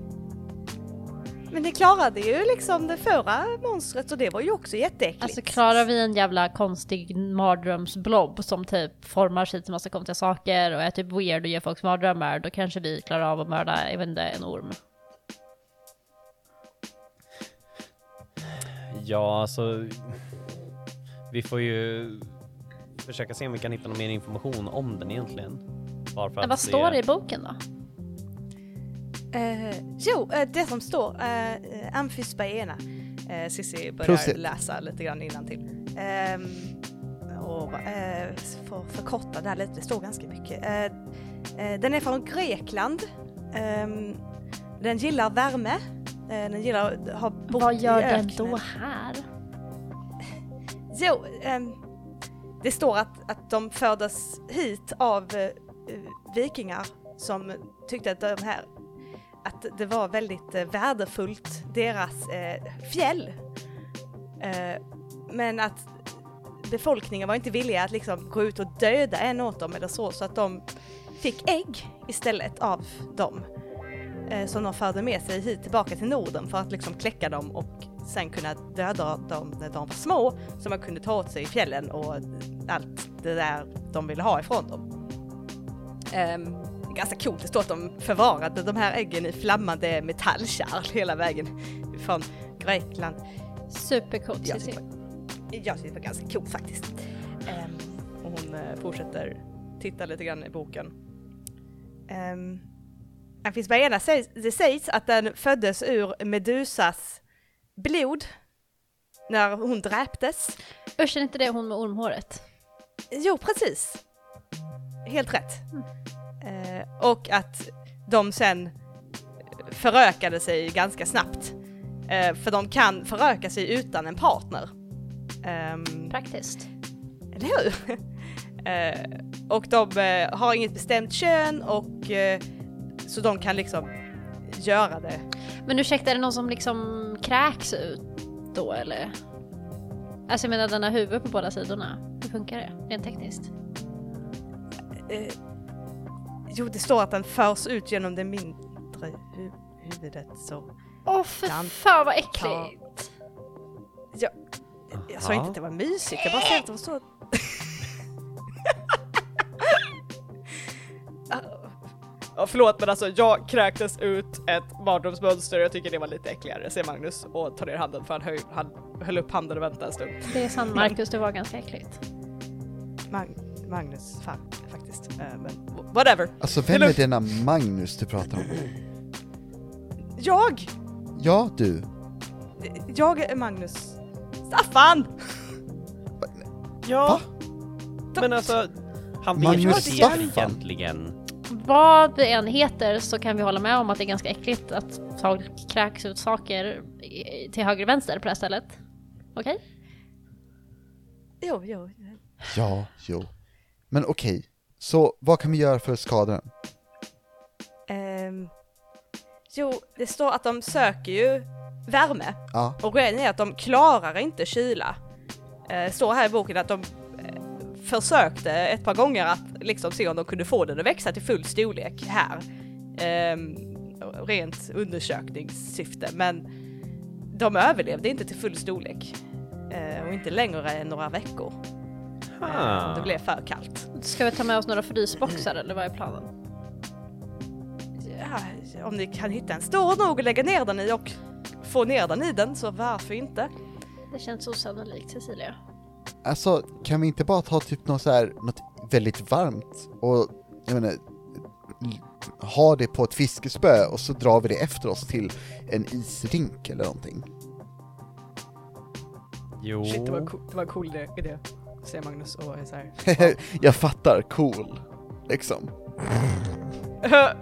*laughs* Men ni klarade ju liksom det förra monstret och det var ju också jätteäckligt. Alltså klarar vi en jävla konstig mardrömsblob som typ formar sig till massa konstiga saker och är typ weird och ger folk mardrömmar, då kanske vi klarar av att mörda, jag vet inte, en orm. Ja, alltså... Vi får ju försöka se om vi kan hitta någon mer information om den egentligen. Bara för Men att vad se- står det i boken då? Eh, jo, eh, det som står, uh, amfysbaena. Uh, Cissi börjar Prosit. läsa lite grann innantill. Ehm, och eh, för, förkorta det här lite, det står ganska mycket. Eh, eh, den är från Grekland. Ehm, den gillar värme. Eh, den gillar att ha bott Vad gör i den öknen. då här? Jo, ehm, det står att, att de fördes hit av eh, vikingar som tyckte att, de här, att det var väldigt eh, värdefullt, deras eh, fjäll. Eh, men att befolkningen var inte villiga att liksom gå ut och döda en åt dem eller så, så att de fick ägg istället av dem. Eh, som de förde med sig hit tillbaka till Norden för att liksom kläcka dem och sen kunna döda dem när de var små som man kunde ta åt sig i fjällen och allt det där de ville ha ifrån dem. Ehm, det är ganska coolt, det står att de förvarade de här äggen i flammande metallkärl hela vägen från Grekland. Supercoolt Ja, Cissi. det Jag tyckte det var ganska coolt faktiskt. Ehm, och hon eh, fortsätter titta lite grann i boken. Um, Amfisbaena sägs, det sägs att den föddes ur Medusas blod när hon dräptes. Usch, är inte det hon med ormhåret? Jo, precis. Helt rätt. Eh, och att de sen förökade sig ganska snabbt. Eh, för de kan föröka sig utan en partner. Ehm, Praktiskt. eller hur? *laughs* Eh, och de eh, har inget bestämt kön och eh, så de kan liksom göra det. Men ursäkta, är det någon som liksom kräks ut då eller? Alltså jag menar den har huvud på båda sidorna. Hur funkar det rent tekniskt? Eh, jo, det står att den förs ut genom det mindre hu- huvudet så. Åh för Dan- fan vad äckligt! Jag sa inte att det var mysigt, jag bara sa att det var så... Ah, *laughs* Ja, förlåt men alltså jag kräktes ut ett mardrömsmönster och jag tycker det var lite äckligare, säger Magnus och tar ner handen för han, höj, han höll upp handen och väntade en stund. Det är sant Marcus, det var ganska äckligt. Mag- Magnus, fan faktiskt. Eh, men w- whatever. Alltså Det är vem är lugnt. denna Magnus du pratar om? Jag! Ja du, Jag är Magnus. Staffan! Ja. Men alltså, han vet ju Magnus det Staffan. egentligen. Vad det än heter så kan vi hålla med om att det är ganska äckligt att folk kräks ut saker i- till höger och vänster på det här stället. Okej? Jo, jo. ja, jo. Men okej, så vad kan vi göra för att skada den? Ehm, jo, det står att de söker ju värme Ja, och grejen är att de klarar inte kyla. Eh, står här i boken att de eh, försökte ett par gånger att liksom se om de kunde få den att växa till full storlek här. Ehm, rent undersökningssyfte, men de överlevde inte till full storlek eh, och inte längre än några veckor. Ah. Det blev för kallt. Ska vi ta med oss några frysboxar eller vad är planen? Ja, om ni kan hitta en stor nog och lägga ner den i och få ner den i den så varför inte? Det känns osannolikt Cecilia. alltså kan vi inte bara ta typ något så här, något väldigt varmt och jag menar, l- ha det på ett fiskespö och så drar vi det efter oss till en isrink eller någonting. *laughs* Jo. Shit, det var, en cool, det var en cool idé- idé, säger Magnus och är så *laughs* här. jag fattar, cool. Liksom.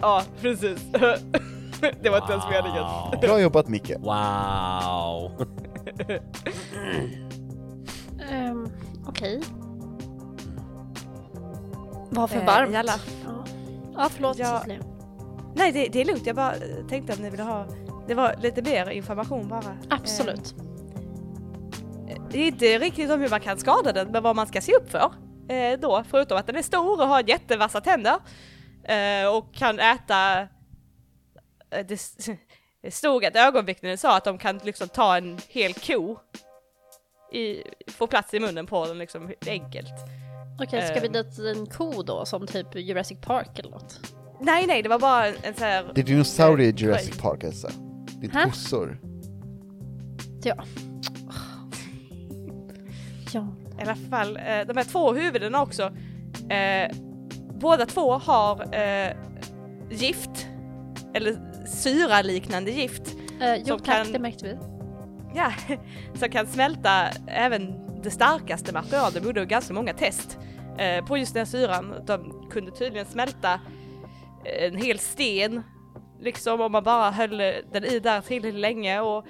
ja, *laughs* precis. det var inte ens meningen. Bra jobbat Micke. Wow. Um, Okej. Vad för Eh, varmt? i alla- Ja. ja, förlåt Ja. Cecilia. Nej, det, det är lugnt. Jag bara eh, tänkte om ni ville ha... Det var lite mer information bara. Absolut. ehm, Eh, Det är inte riktigt om hur man kan skada den, men vad man ska se upp för. Eh, då, förutom att den är stor och har jättevassa tänder. Eh, och kan äta... Eh, det, s- det stod att ögonvittnen sa att de kan liksom ta en hel ko. I, få plats i munnen på den liksom enkelt. Okej, ska vi ehm. dit en ko då som typ Jurassic Park eller något? Nej, nej, det var bara en, en så här... Det är dinosaurier i Eh, Jurassic oj. Park alltså. Det är Hä? inte kossor. Ja. Ja. i alla fall, eh, de här två huvudena också, eh, båda två har eh, gift, eller syraliknande gift, Eh, jo Som tack, kan- det märkte vi. ja, som kan smälta även det starkaste materialet. De gjorde ganska många test eh, på just den här syran. De kunde tydligen smälta eh, en hel sten, liksom om man bara höll den i där tillräckligt länge och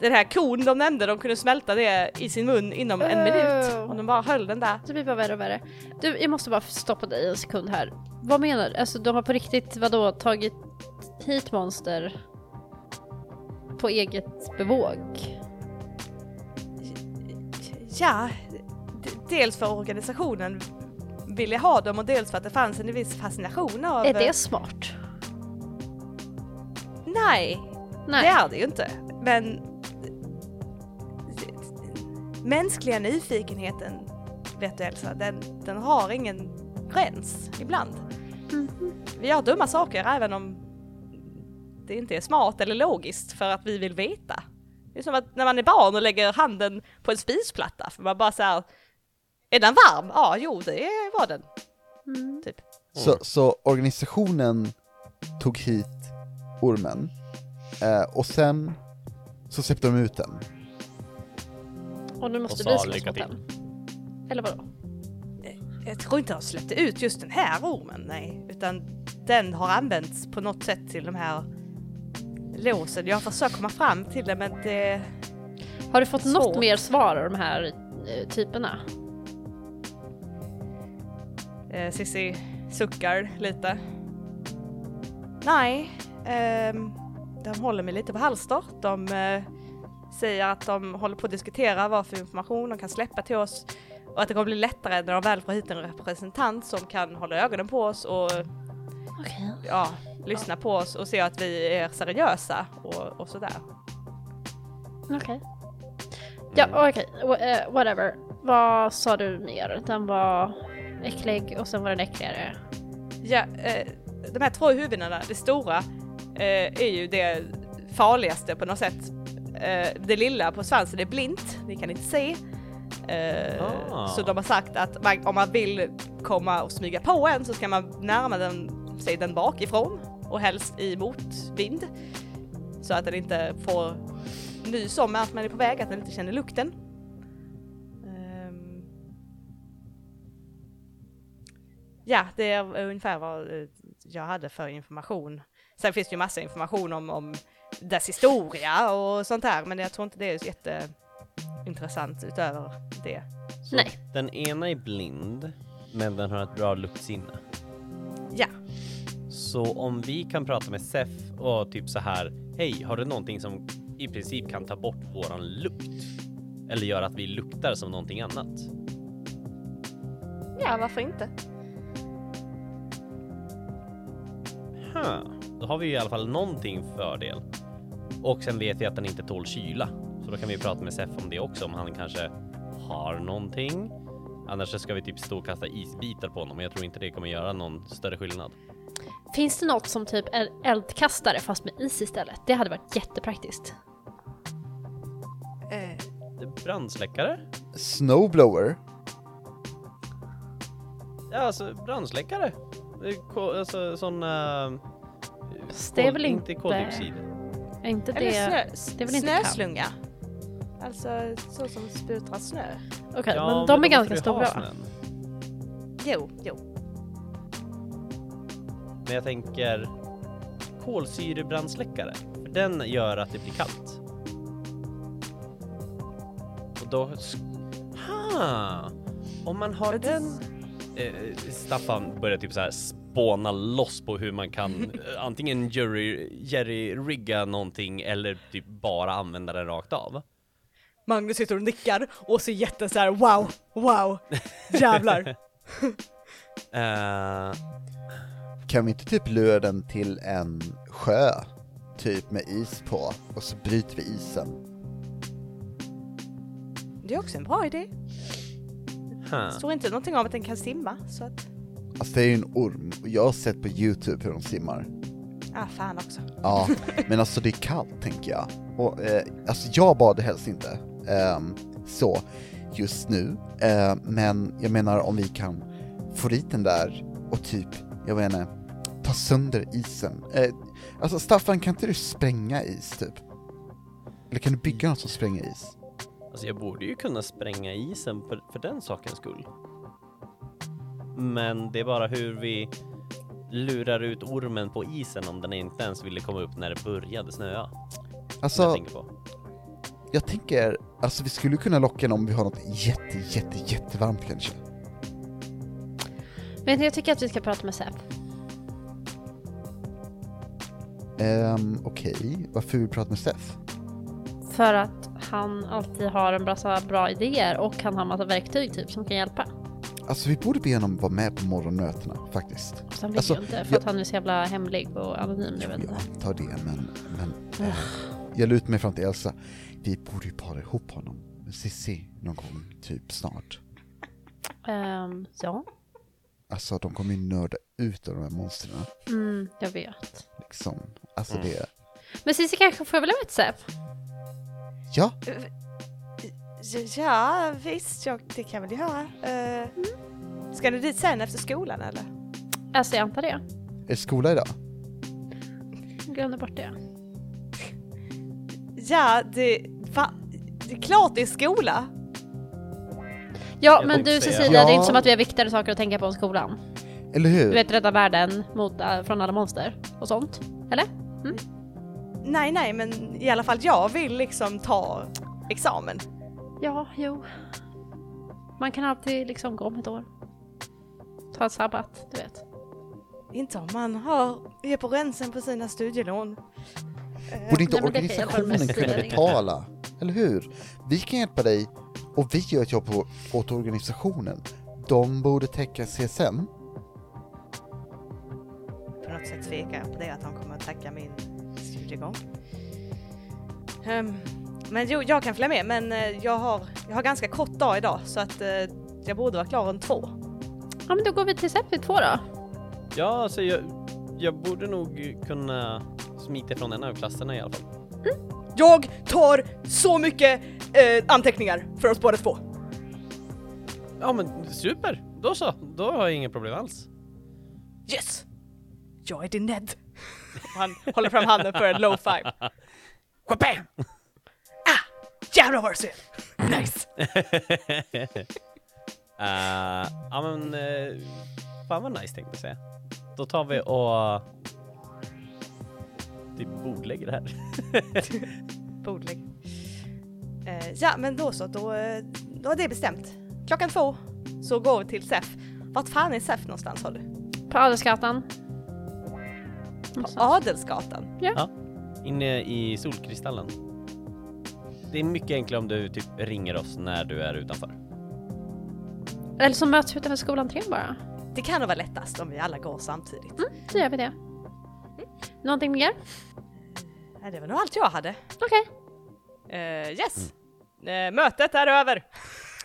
den här kon de nämnde, de kunde smälta det i sin mun inom en minut om de bara höll den där. Det blir bara värre och värre. Du, jag måste bara stoppa dig en sekund här. Vad menar du? Alltså de har på riktigt, vadå, tagit hit monster på eget bevåg? Ja, d- dels för organisationen ville ha dem och dels för att det fanns en viss fascination av... Är det smart? Nej, Nej. det är det ju inte. Men... d- d- Mänskliga nyfikenheten, vet du Elsa, den, den har ingen gräns ibland. Mm-hmm. Vi gör dumma saker även om det inte är smart eller logiskt för att vi vill veta. Det är som att när man är barn och lägger handen på en spisplatta för man bara såhär, är den varm? Ja, jo det var den. Typ. Mm. Så, så organisationen tog hit ormen eh, och sen så släppte de ut den. Och nu måste sa vi slåss lycka mot till. den. Eller vadå? Jag tror inte de släppte ut just den här ormen, nej. Utan den har använts på något sätt till de här låsen. Jag försöker komma fram till det men det... Har du fått något Svårt. mer svar av de här eh, typerna? Eh, Cissi suckar lite. Nej, ehm, de håller mig lite på halster. De eh, säger att de håller på att diskutera vad för information de kan släppa till oss och att det kommer bli lättare när de väl får hit en representant som kan hålla ögonen på oss och Okej. ja, lyssna på oss och se att vi är seriösa och, och sådär. Okej. Ja, okej. Wh- eh, Whatever. Vad sa du mer? Den var äcklig och sen var den äckligare. Ja, eh, de här två huvudena, det stora, eh, är ju det farligaste på något sätt. Eh, det lilla på svansen är blint, ni kan inte se. Eh, Ah. Så de har sagt att man, om man vill komma och smyga på en så ska man närma den, sig den bakifrån och helst i motvind. Så att den inte får nys om att man är på väg, att den inte känner lukten. Ehm. Ja, det är ungefär vad eh, jag hade för information. Sen finns det ju massa information om, om dess historia och sånt här, men jag tror inte det är så jätteintressant utöver det. Så Nej. Den ena är blind, men den har ett bra luktsinne. Ja. Så om vi kan prata med Sef och typ så här, hej, har du någonting som i princip kan ta bort våran lukt? Eller göra att vi luktar som någonting annat? Ja, varför inte? Huh. Då har vi ju i alla fall någonting fördel. Och sen vet vi att den inte tål kyla. Så då kan vi prata med Sef om det också, om han kanske har någonting. Annars så ska vi typ stå och kasta isbitar på honom, men jag tror inte det kommer göra någon större skillnad. Finns det något som typ är eldkastare fast med is istället? Det hade varit jättepraktiskt. Brandsläckare? Snowblower? Ja, alltså brandsläckare. Det är ko- Alltså sån... Uh, Fast det är väl inte inte- koldioxid. Är inte det... Eller snö, det är väl inte snöslunga. Alltså så som sprutar snö. Okej, men de då är ganska måste du ha stora. va? snön. Jo, jo. Men jag tänker kolsyrebrandsläckare. För den gör att det blir kallt. Och då... Ha! Om man har Men det- den... Eh, Staffan börjar typ så här spåna loss på hur man *laughs* kan eh, antingen jury, jerry-rigga någonting eller typ bara använda den rakt av. Magnus sitter och nickar och ser jätte så här wow, wow, *laughs* jävlar. Eh, Kan vi inte typ lura den till en sjö? Typ med is på, och så bryter vi isen. det är också en bra idé. huh. Det står inte någonting om att den kan simma så att, Alltså det är ju en orm, och jag har sett på youtube hur de simmar. ah fan också. Ja, men alltså det är kallt tänker jag. Och, eh, alltså jag bad helst inte ehm, så just nu. Eh, men jag menar om vi kan få dit den där och typ, jag vet inte, ta sönder isen. Eh, alltså Staffan, kan inte du spränga is typ? Eller kan du bygga något som spränger is? Alltså jag borde ju kunna spränga isen för, för den sakens skull. Men det är bara hur vi lurar ut ormen på isen om den inte ens ville komma upp när det började snöa. som jag Alltså, tänker på. jag tänker, alltså vi skulle kunna locka den om vi har något jätte, jätte, jättevarmt kanske. Men jag tycker att vi ska prata med Säp. Ehm, Okej, varför vill vi prata med Steph? För att han alltid har en massa bra idéer och han har massa verktyg typ som kan hjälpa. Alltså vi borde be honom vara med på morgonmötena faktiskt. Så han vill Alltså, ju inte för jag- att han är så jävla hemlig och anonym. Jag vet Jag inte. antar det, men... men eh, jag lutar mig fram till Elsa. Vi borde ju para ihop honom med Cissi någon gång, typ snart. Ehm, ja, Alltså de kommer ju nörda ut av de här monstren. mm, jag vet. Liksom. Alltså Mm. det... Men Cissi kanske får välja med ett Säp? Ja, Ja visst, jag, det kan väl göra. Uh, Ska ni dit sen efter skolan eller? Alltså jag antar det. är det skola idag? Jag glömde bort det. Ja, det, va? Det är klart det är skola. Ja, Jag men tänkte du säga- Cecilia, det Ja. är inte som att vi har viktigare saker att tänka på än skolan. Eller hur? Du vet, rädda världen mot, äh, från alla monster och sånt. Eller? Nej, nej, men i alla fall jag vill liksom ta examen. Ja, jo. Man kan alltid liksom gå om ett år. Ta en sabbat, du vet. Inte om man har, är på rensen på sina studielån. Borde inte Nej, men det kan jag hjälpa dig med, organisationen kunna Cecilia. betala? Eller hur? Vi kan hjälpa dig och vi gör ett jobb på, åt organisationen. De borde täcka CSN. På något sätt tvekar jag på det att han kommer att tacka min studiegång. Ehm, men jo, jag kan följa med, men eh, jag har, jag har ganska kort dag idag så att eh, jag borde vara klar om två. Ja, men då går vi till Seppi två då. Ja, alltså jag, jag borde nog kunna smita från en av klasserna i alla fall. Jag tar så mycket eh, anteckningar för oss båda två. Ja men super, då så. Då har jag inga problem alls. Yes! Jag är din Ned. Han håller fram handen för en low five. Bam! Ah! Jävlar vad du ser! Nice! *laughs* Eh, ja men, eh, fan vad nice tänkte jag säga. Då tar vi och typ bordlägger det här. *laughs* Bordlägg. Eh, ja, men då så, då, eh, då är det bestämt. Klockan två så går vi till SEF. Vart fan är SEF någonstans har du? På Adelsgatan. Ja. Adelsgatan. Inne i solkristallen. Det är mycket enklare om du typ ringer oss när du är utanför. Eller så möts vi utanför skolentrén bara. Det kan nog vara lättast om vi alla går samtidigt. Så gör vi det. Mm. Någonting mer? Nej, det var nog allt jag hade. *laughs* Okej. Eh, yes! Mm. Eh, mötet är över! *laughs*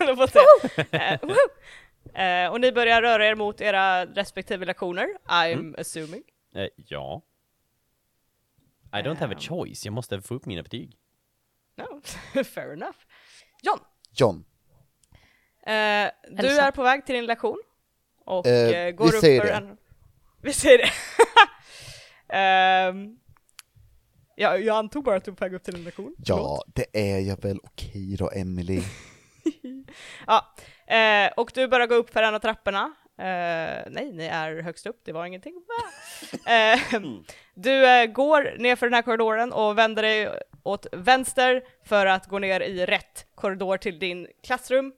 Eller vad säger jag? Eh, woho! Eh, och ni börjar röra er mot era respektive lektioner, I'm Mm. assuming. Eh, ja. I don't have a choice, jag måste få upp mina betyg. No, *laughs* fair enough. John, John, eh, du Elsa. är på väg till din lektion och Eh, eh, går vi upp säger för det. en... Vi säger det. *laughs* Ehm, ja, jag antog bara att du är på väg upp till din lektion. Förlåt. ja det är jag väl okej då *laughs* Emily. Ja, eh, och du börjar gå upp för en av trapporna. Eh, nej, ni är högst upp, det var ingenting. Va? Eh, du eh, går ner för den här korridoren och vänder dig åt vänster för att gå ner i rätt korridor till din klassrum.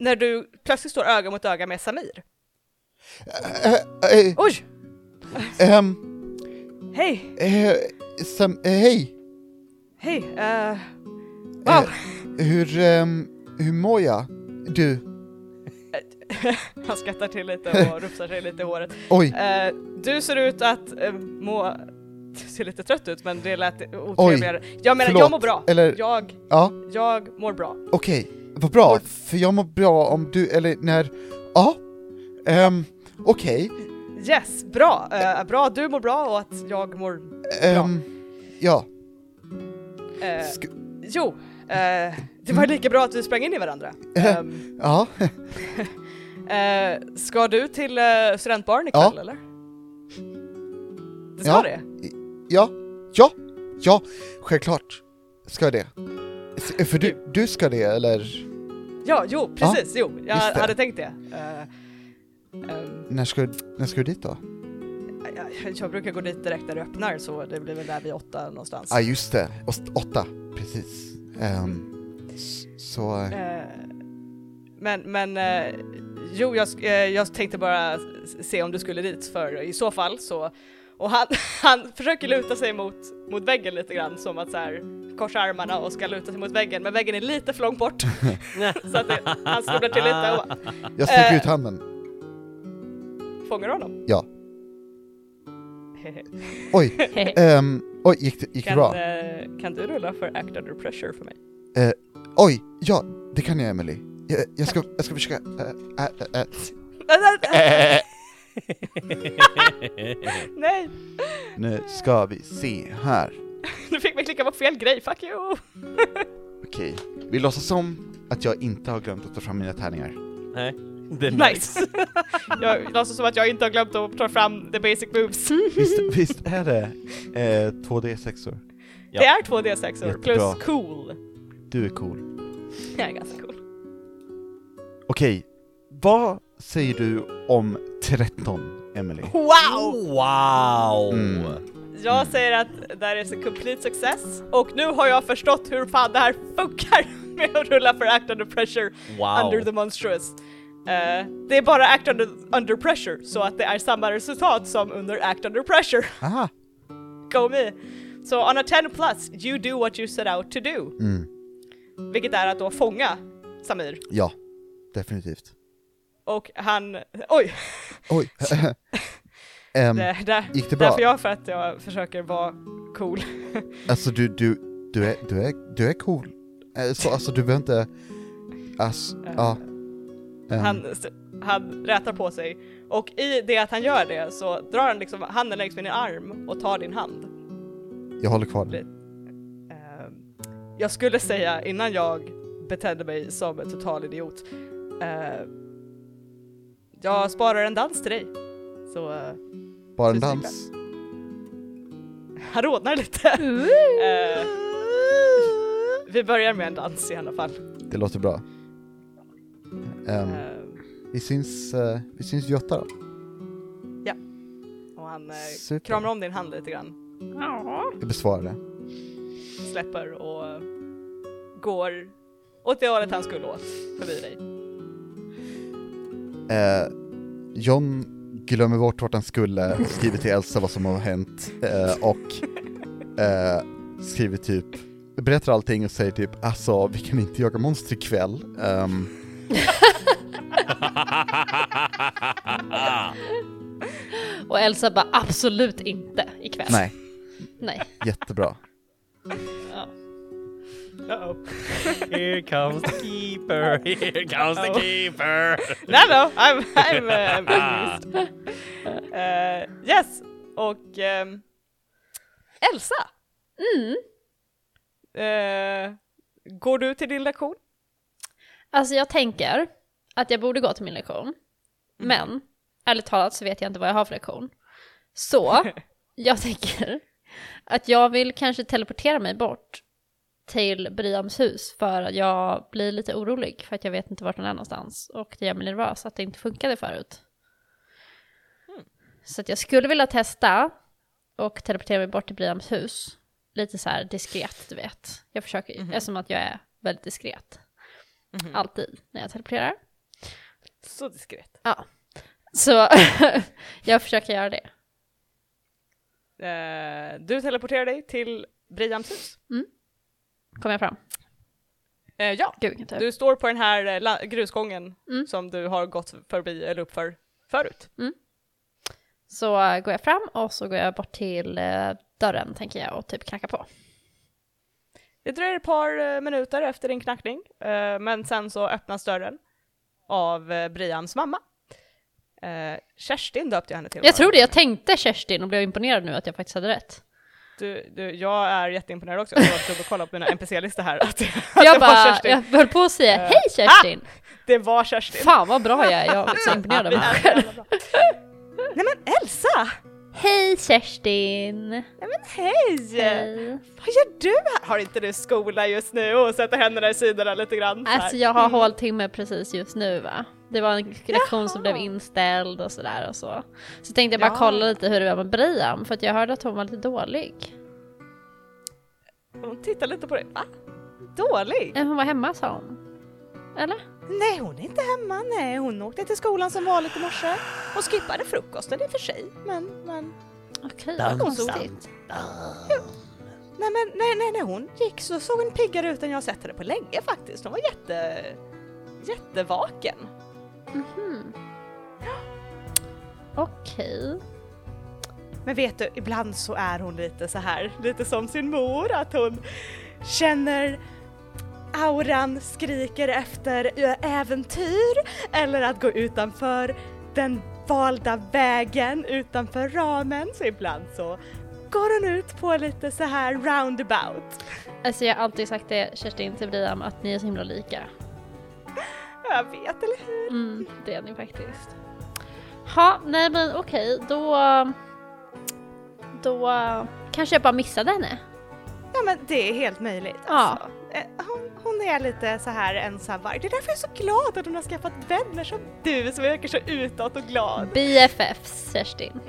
När du plötsligt står öga mot öga med Samir. Eh, eh, Oj! ehm, Hej! eh, Sam, eh, hej! Hej! eh, Eh, wow! Hur, ehm, hur mår jag? Du, Han skrattar till lite och rufsar sig lite i håret. oj, Eh, du ser ut att eh, må... *laughs* Du ser lite trött ut men det lät otrevligare. jag menar, jag förlåt. mår bra. Eller- Jag, ja. jag mår bra. Okej, vad bra, för jag mår bra om du, eller när, ja, ehm, okej, Yes, bra! Eh, bra, du mår bra och att jag mår... ehm, ja, eh, Sk- jo, eh, det Mm. var lika bra att vi sprang in i varandra. Ehm, ja, eh, ska du till eh, studentbaren ikväll Ja. eller? Det ska Ja. det? ja, ja, ja, självklart ska jag det. S- För du, du ska det eller, Ja, jo, precis, jo, jag just det. hade tänkt det. Eh, ehm, när ska, när ska du dit då? jag, jag brukar gå dit direkt när det öppnar så det blir väl där vid åtta någonstans. Ja ah, just det, Ost- åtta, precis. Ehm, s- så, eh, Eh, men, men eh, jo, jag, sk- eh, jag tänkte bara s- se om du skulle dit för i så fall så och han, *laughs* han försöker luta sig mot, mot väggen lite grann som att så här korsa armarna och ska luta sig mot väggen men väggen är lite för långt bort *laughs* så att det, han snubblar till lite och bara, jag sticker eh, ut handen, fångar honom. *laughs* Ja. oj, ehm, oj, gick det, gick det kan, bra? eh, kan du rulla för act under *laughs* pressure för mig? *laughs* Oj, ja, det kan jag Emily. Jag, jag, ska, jag ska försöka, äh, äh, äh. Nej, *laughs* Nu ska vi se här. du fick mig klicka på fel grej, fuck you! Okej, vi låtsas som att jag inte har glömt att ta fram mina tärningar. Nej, det är nice. Nice! *laughs* jag låtsas som att jag inte har glömt att ta fram the basic moves. *laughs* Visst, visst är det eh, 2D6or? Ja. Det är 2D6 Jättebra. plus cool. Du är cool. Jag är ganska cool. Okej, vad säger du om 13, Emily? Wow! Wow! Mm. Jag säger att där är en complete success och nu har jag förstått hur fan det här funkar *laughs* med att rulla för act under pressure Wow! *laughs* under the monstrous. Eh, det är bara act under, under pressure så att det är samma resultat som under act under pressure. *laughs* Aha. Go me! So on a 10 plus you do what you set out to do. Mm, Vilket är att då fånga Samir. ja, definitivt. Och han... Oj! Oj. *laughs* Ehm, Det, där, gick det bra? Därför jag, för att jag försöker vara cool. Alltså du, du, du är, du är, du är cool. Eh, Så alltså du behöver inte, alltså, ja. Ehm, Eh, Han, han rätar på sig och i det att han gör det så drar han liksom handen längs med din arm och tar din hand. jag håller kvar den. Ehm, Jag skulle säga innan jag betedde mig som en total idiot. ehm, Jag sparar en dans till dig. Så eh, Bara en dans. precis, han rodnar *laughs* lite. Eh. Ehm, Vi börjar med en dans i alla fall. Det låter bra. Ehm, Ehm, vi syns, eh, vi syns vid åtta då. Och han eh, Super. kramar om din hand lite grann, Jag besvarar det. släpper och eh, går åt det hållet han skulle åt, förbi dig. Eh, John glömmer bort vart han skulle, skriver till Elsa vad som har hänt eh, *laughs* och eh, skriver typ, berättar allting och säger typ alltså vi kan inte jaga monster ikväll. Ehm, Och Elsa bara absolut inte ikväll. nej, Nej. jättebra. Ja. Uh-oh. Here comes the keeper, *laughs* here comes the Uh-oh. keeper! No, no, I'm, I'm uh, amused. Eh, yes, och ehm, Elsa. Eh, går du till din lektion? Alltså jag tänker att jag borde gå till min lektion. Men ärligt talat så vet jag inte vad jag har för lektion. Så jag tänker att jag vill kanske teleportera mig bort till Briams hus för att jag blir lite orolig för att jag vet inte vart den är någonstans och det gör mig nervös att det inte funkade förut. Så att jag skulle vilja testa och teleportera mig bort till Briams hus. Lite så här diskret, du vet. Jag försöker, eftersom att jag är väldigt diskret. Mm. Alltid när jag teleporterar. Mhm. Så diskret. Ja. Så *laughs* jag försöker göra det. Eh, du teleporterar dig till Briams hus. Kommer jag fram? Eh, ja, Gud vilken tur. du står på den här eh, la- grusgången Mm. som du har gått förbi eller uppför förut. Så eh, går jag fram och så går jag bort till eh, dörren tänker jag och typ knackar på. Det dröjer ett par eh, minuter efter din knackning, eh, men sen så öppnas dörren av eh, Briams mamma. Eh, Kerstin döpte jag henne till. Jag trodde jag tänkte Kerstin och blev imponerad nu att jag faktiskt hade rätt. Du, du, jag är jätteimponerad också, jag var och kolla på mina NPC-listor här. Att, *laughs* att Jag det, var bara, Kerstin. jag höll på att säga hej Kerstin! det var Kerstin. Fan vad bra jag är, jag är *laughs* så imponerad av Vi mig är så själv. jävla bra. Nej men Elsa! Hej Kerstin! Nej men hej! Hej. Vad gör du här? Har inte du skola just nu och sätter händerna i sidorna lite grann? så här? Alltså jag har håltimme precis just nu va? Det var en lektion som blev inställd och sådär och så. Så tänkte jag bara Ja. kolla lite hur det var med Brian för att jag hörde att hon var lite dålig. Mm. Hon tittar lite på dig. Va? Dålig? Eh, Hon var hemma sa hon. Eller? Nej, hon är inte hemma. Nej, hon åkte till skolan som vanligt i morse. Hon skippade frukosten i och för sig, men, men... Okej, vad Dans, konstigt. Nej, men nej, nej, när hon gick så såg hon piggare ut än jag har sett henne på länge faktiskt. Hon var jätte... jättevaken. Mhm. Okej. Men vet du, ibland så är hon lite så här, lite som sin mor, att hon känner auran skriker efter äventyr eller att gå utanför den valda vägen utanför ramen. Så ibland så går hon ut på lite så här roundabout. Alltså jag har alltid sagt det Kerstin till Brian att ni är så himla lika. Jag vet, eller hur? Mm, det är ni faktiskt. Ja, nej men okej, då... Då kanske jag bara missade henne. Ja men det är helt möjligt. Ja. Alltså. Eh, Hon, hon är lite så här ensamvarg. Det är därför jag är så glad att hon har skaffat vänner som du som verkar så utåt och glad. BFFs Kerstin.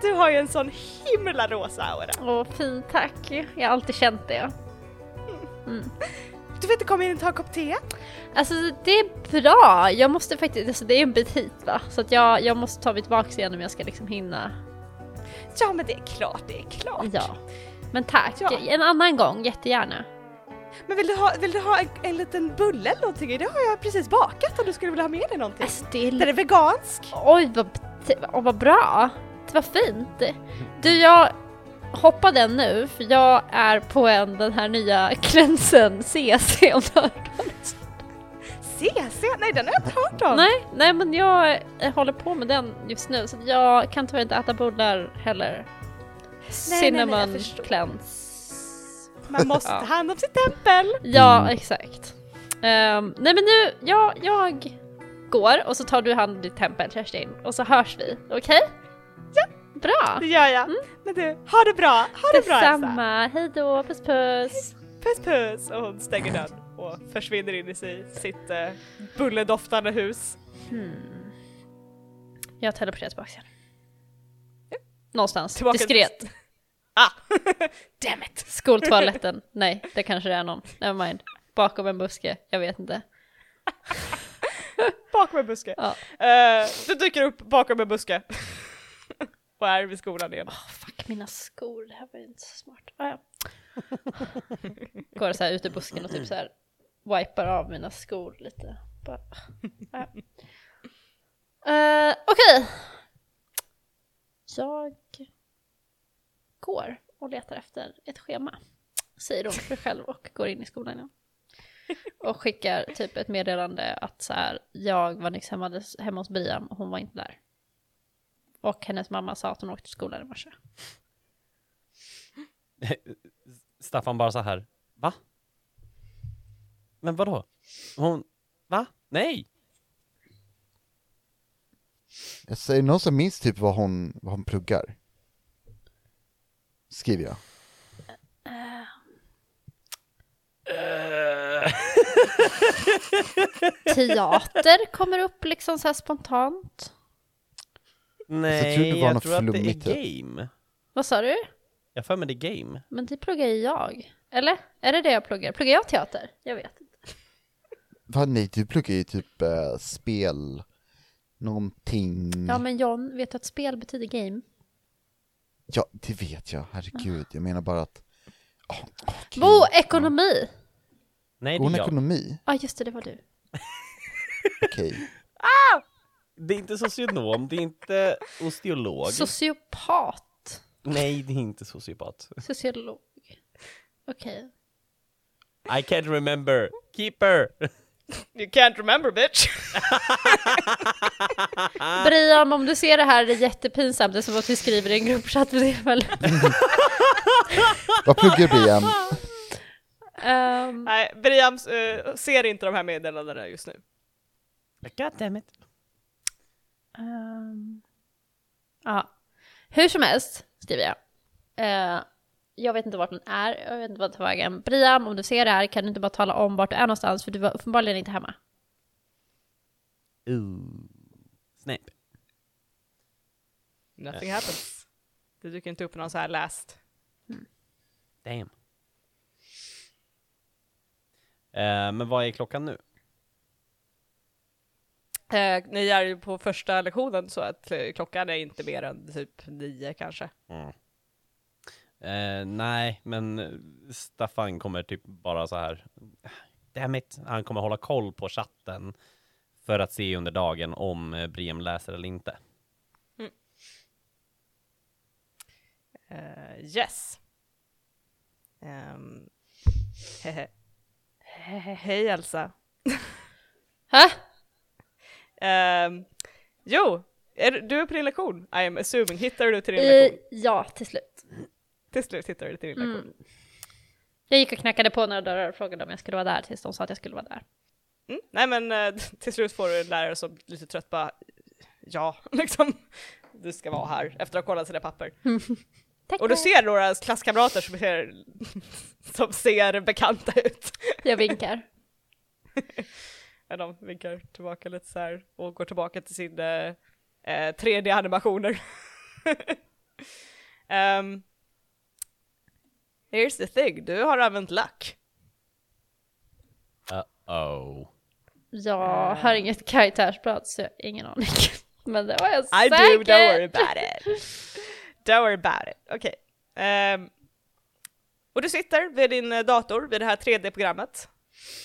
Du har ju en sån himla rosa aura. Åh, fint tack. Jag har alltid känt det. Du vet, kom in och ta en kopp te. Alltså det är bra, jag måste faktiskt, alltså det är en bit hit va? Så att jag, jag måste ta mig tillbaka igen om jag ska liksom hinna. Ja men det är klart, det är klart. Ja. Men tack, Ja. en annan gång jättegärna. Men vill du ha, vill du ha en, en liten bulle eller någonting i? Det har jag precis bakat om du skulle vilja ha med dig någonting. Alltså det är Den är vegansk. Oj, vad, åh, vad bra! Det var fint! Du, jag hoppar den nu för jag *laughs* är på en, den här nya klänsen CC om du har hört talas om CC? Nej, den har jag inte hört om. Nej, nej men jag eh, håller på med den just nu så att jag kan tyvärr inte äta bullar heller. nej, nej, jag Cinnamon förstår. cleanse. Man måste ta hand om sitt tempel. Ja, exakt. Ehm, nej men nu, ja, jag går och så tar du hand om ditt tempel Kerstin och så hörs vi, okej? Ja! Bra! Det gör jag. Men du, ha det bra. Ha det bra Elsa. Detsamma, hejdå, puss puss! Puss puss. Och hon stänger dörren och försvinner in i sig, sitt eh, bullerdoftande hus. Hmm. Jag teleporterar tillbaka igen. Någonstans, Tillbaka till- diskret. Ah! Damn it! Skoltoaletten, nej det kanske det är någon, never mind. Bakom en buske, jag vet inte. Bakom en buske. Ja. Eh, du dyker upp bakom en buske. och är vid skolan igen. Fuck mina skor, det här var ju inte så smart. Ah, ja. Går så här ut i busken och typ så här wipar av mina skor lite. Bara, ah, ja. Eh, Okej. Jag går och letar efter ett schema. Säger hon för sig själv och går in i skolan igen. Och skickar typ ett meddelande att så här, jag var nyss hemma, hemma hos Brian och hon var inte där. Och hennes mamma sa att hon åkte till skolan i morse. Staffan bara så här. Va? Men vadå? Hon... Va? Nej! Alltså, är det någon som minns typ vad hon, vad hon pluggar? Skriver jag. teater kommer upp liksom så här spontant. Nej, tror det var något jag tror att det flummigt är här. game. Vad sa du? Jag har för mig det är game. Men det pluggar ju jag. Eller? Är det det jag pluggar? Pluggar jag teater? Jag vet inte. Va, nej, du pluggar ju typ eh, spel, någonting. Ja men John, vet du att spel betyder game? Ja, det vet jag, herregud. Jag menar bara att... Åh, åh, gud. Bo, ekonomi! Nej, det Går hon är jag. ekonomi? Ja ah, just det, det var du. Okej. Det är inte socionom, det är inte osteolog. Sociopat. Nej, det är inte sociopat. Sociolog. Okej. I can't remember. Keeper! You can't remember bitch! Brian, om du ser det här, det är jättepinsamt. Det är som att vi skriver i en gruppchatt vid tillfället. Vad pluggar Brian? Ehm, Nej, Brian eh, ser inte de här meddelandena just nu. Goddammit. Ehm, Ja. Hur som helst, skriver jag. Eh, jag vet inte vart den är, jag vet inte vart den tar vägen. Brian, om du ser det här kan du inte bara tala om vart du är någonstans för du var uppenbarligen inte hemma. Ooh. Snape. Nothing happens. Det dyker inte upp någon så här läst. Damn. Eh, men vad är klockan nu? Eh, ni är ju på första lektionen så att eh, klockan är inte mer än typ nio kanske. Eh, nej, men Staffan kommer typ bara så här. Damn it. Han kommer hålla koll på chatten för att se under dagen om eh, Briem läser eller inte. Eh, yes. Ehm, *laughs* hehe. Hehe, Hej Elsa. Hä? Ehm, jo, är, du- du är på din lektion, I am assuming. Hittar du till din Eh, lektion? ja, till slut. Till slut hittar du till din mm. lektion. Jag gick och knackade på några dörrar och frågade om jag skulle vara där tills de sa att jag skulle vara där. Mm. Nej men eh, *laughs* till slut får du en lärare som lite trött bara, ja, *laughs* liksom. Du ska vara här efter att ha kollat sina papper. Tack Och du ser några klasskamrater som ser, *laughs* som ser bekanta ut. Jag vinkar. Ja, De vinkar tillbaka lite så här och går tillbaka till sin eh, eh, 3D-animationer. *laughs* Ehm, here's the thing, du har använt luck. Uh-oh. Ah. Jag har inget karaktärsblad så jag har ingen aning. *laughs* Men det var jag I säkert. do, don't worry about it. Don't worry about it, okej. Ehm, och du sitter vid din eh, dator, vid det här 3D-programmet,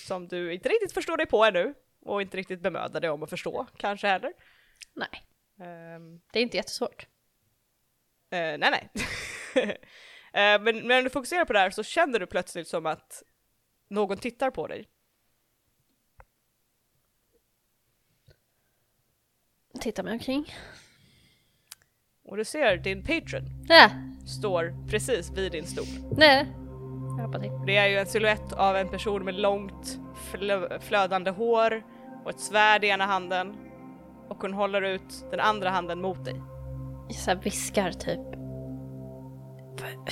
som du inte riktigt förstår dig på ännu, och inte riktigt bemödar dig om att förstå, kanske heller. Nej, Ehm, det är inte jättesvårt. Eh, nej, nej. *laughs* Eh, men när du fokuserar på det här så känner du plötsligt som att någon tittar på dig. Titta mig omkring. Och du ser din patron Nej, står precis vid din stol. nej. Jag hoppar till. Det är ju en silhuett av en person med långt flö- flödande hår och ett svärd i ena handen. Och hon håller ut den andra handen mot dig. Jag så här viskar typ. Kan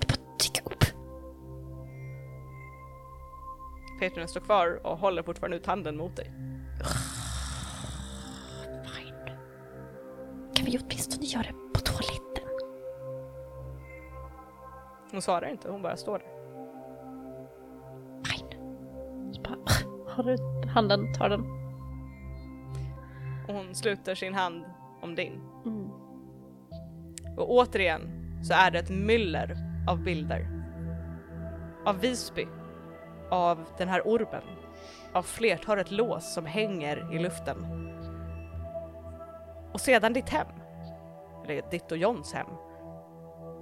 du bara dyka upp? Patron står kvar och håller fortfarande ut handen mot dig. Fine. Kan vi åtminstone göra det på toaletten? Hon svarar inte, hon bara står där. Fine. Så bara, *laughs* har du handen, tar den. Och hon sluter sin hand om din. Mm. Och återigen så är det ett myller av bilder. Av Visby, av den här ormen, av flertalet lås som hänger i luften. Och sedan ditt hem. Eller ditt och Johns hem.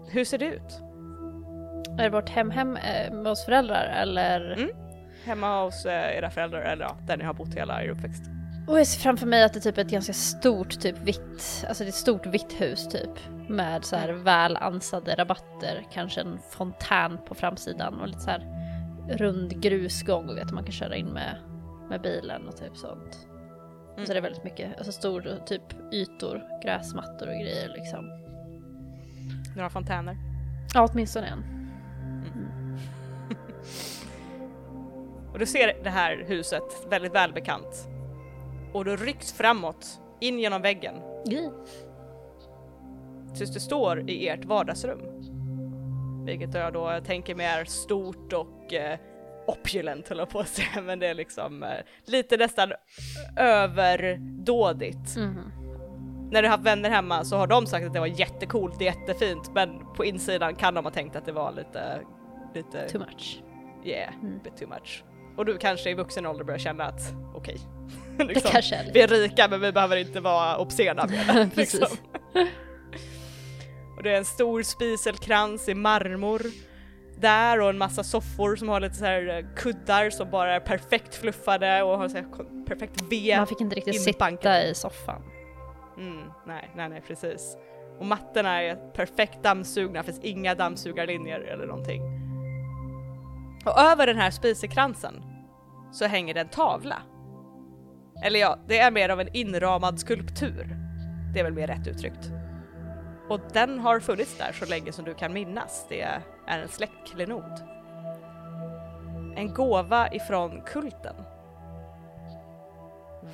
Hur ser det ut? Är det vårt hem-hem eh, med oss föräldrar eller? Mm. Hemma hos eh, era föräldrar eller ja, där ni har bott hela er uppväxt. Och jag ser framför mig att det är typ ett ganska stort typ vitt, alltså det är ett stort vitt hus typ. Med så här väl ansade rabatter, kanske en fontän på framsidan och lite så här rund grusgång och vet man kan köra in med, med bilen och typ sånt. Och så är det väldigt mycket, alltså stor typ ytor, gräsmattor och grejer liksom. Några fontäner. Ja åtminstone en. Och du ser det här huset väldigt välbekant. Och du rycks framåt, in genom väggen Grej. tills du står i ert vardagsrum. Vilket jag då tänker mig är stort och eh, opulent höll jag på att säga, *laughs* men det är liksom eh, lite nästan överdådigt. Mhm. När du har haft vänner hemma så har de sagt att det var jättecoolt, jättefint, men på insidan kan de ha tänkt att det var lite, lite Too much. yeah, Mm. bit too much. Och du kanske i vuxen ålder börjar känna att okej, *laughs* Det liksom, kanske är lite... vi är rika men vi behöver inte vara obscena med det. *laughs* Liksom. Precis. Och det är en stor spiselkrans i marmor där och en massa soffor som har lite så här eh, kuddar som bara är perfekt fluffade och har så här kon- perfekt V. Man fick inte riktigt inbankat. sitta i soffan. Mm, nej, nej, nej, precis. Och mattorna är perfekt dammsugna, finns inga dammsugarlinjer eller någonting. Och över den här spisekransen så hänger det en tavla. Eller ja, det är mer av en inramad skulptur. Det är väl mer rätt uttryckt. Och den har funnits där så länge som du kan minnas. Det är en släktklenod. En gåva ifrån kulten.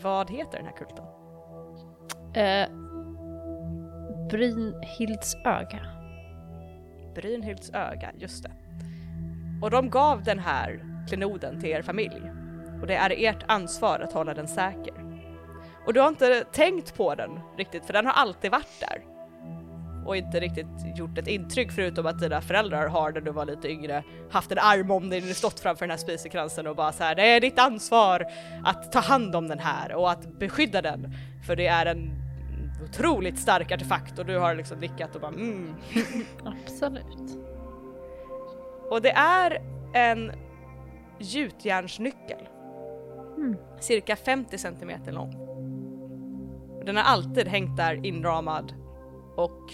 Vad heter den här kulten? Eh, Brynhilds öga. Brynhilds öga, just det. Och de gav den här klenoden till er familj och det är ert ansvar att hålla den säker. Och du har inte tänkt på den riktigt för den har alltid varit där och inte riktigt gjort ett intryck förutom att dina föräldrar har när du var lite yngre haft en arm om dig när du stått framför den här spisekransen och bara så här det är ditt ansvar att ta hand om den här och att beskydda den för det är en otroligt stark artefakt och du har liksom nickat och bara mm, Absolut. Och det är en gjutjärnsnyckel. Mm. Cirka 50 centimeter lång. Den har alltid hängt där inramad och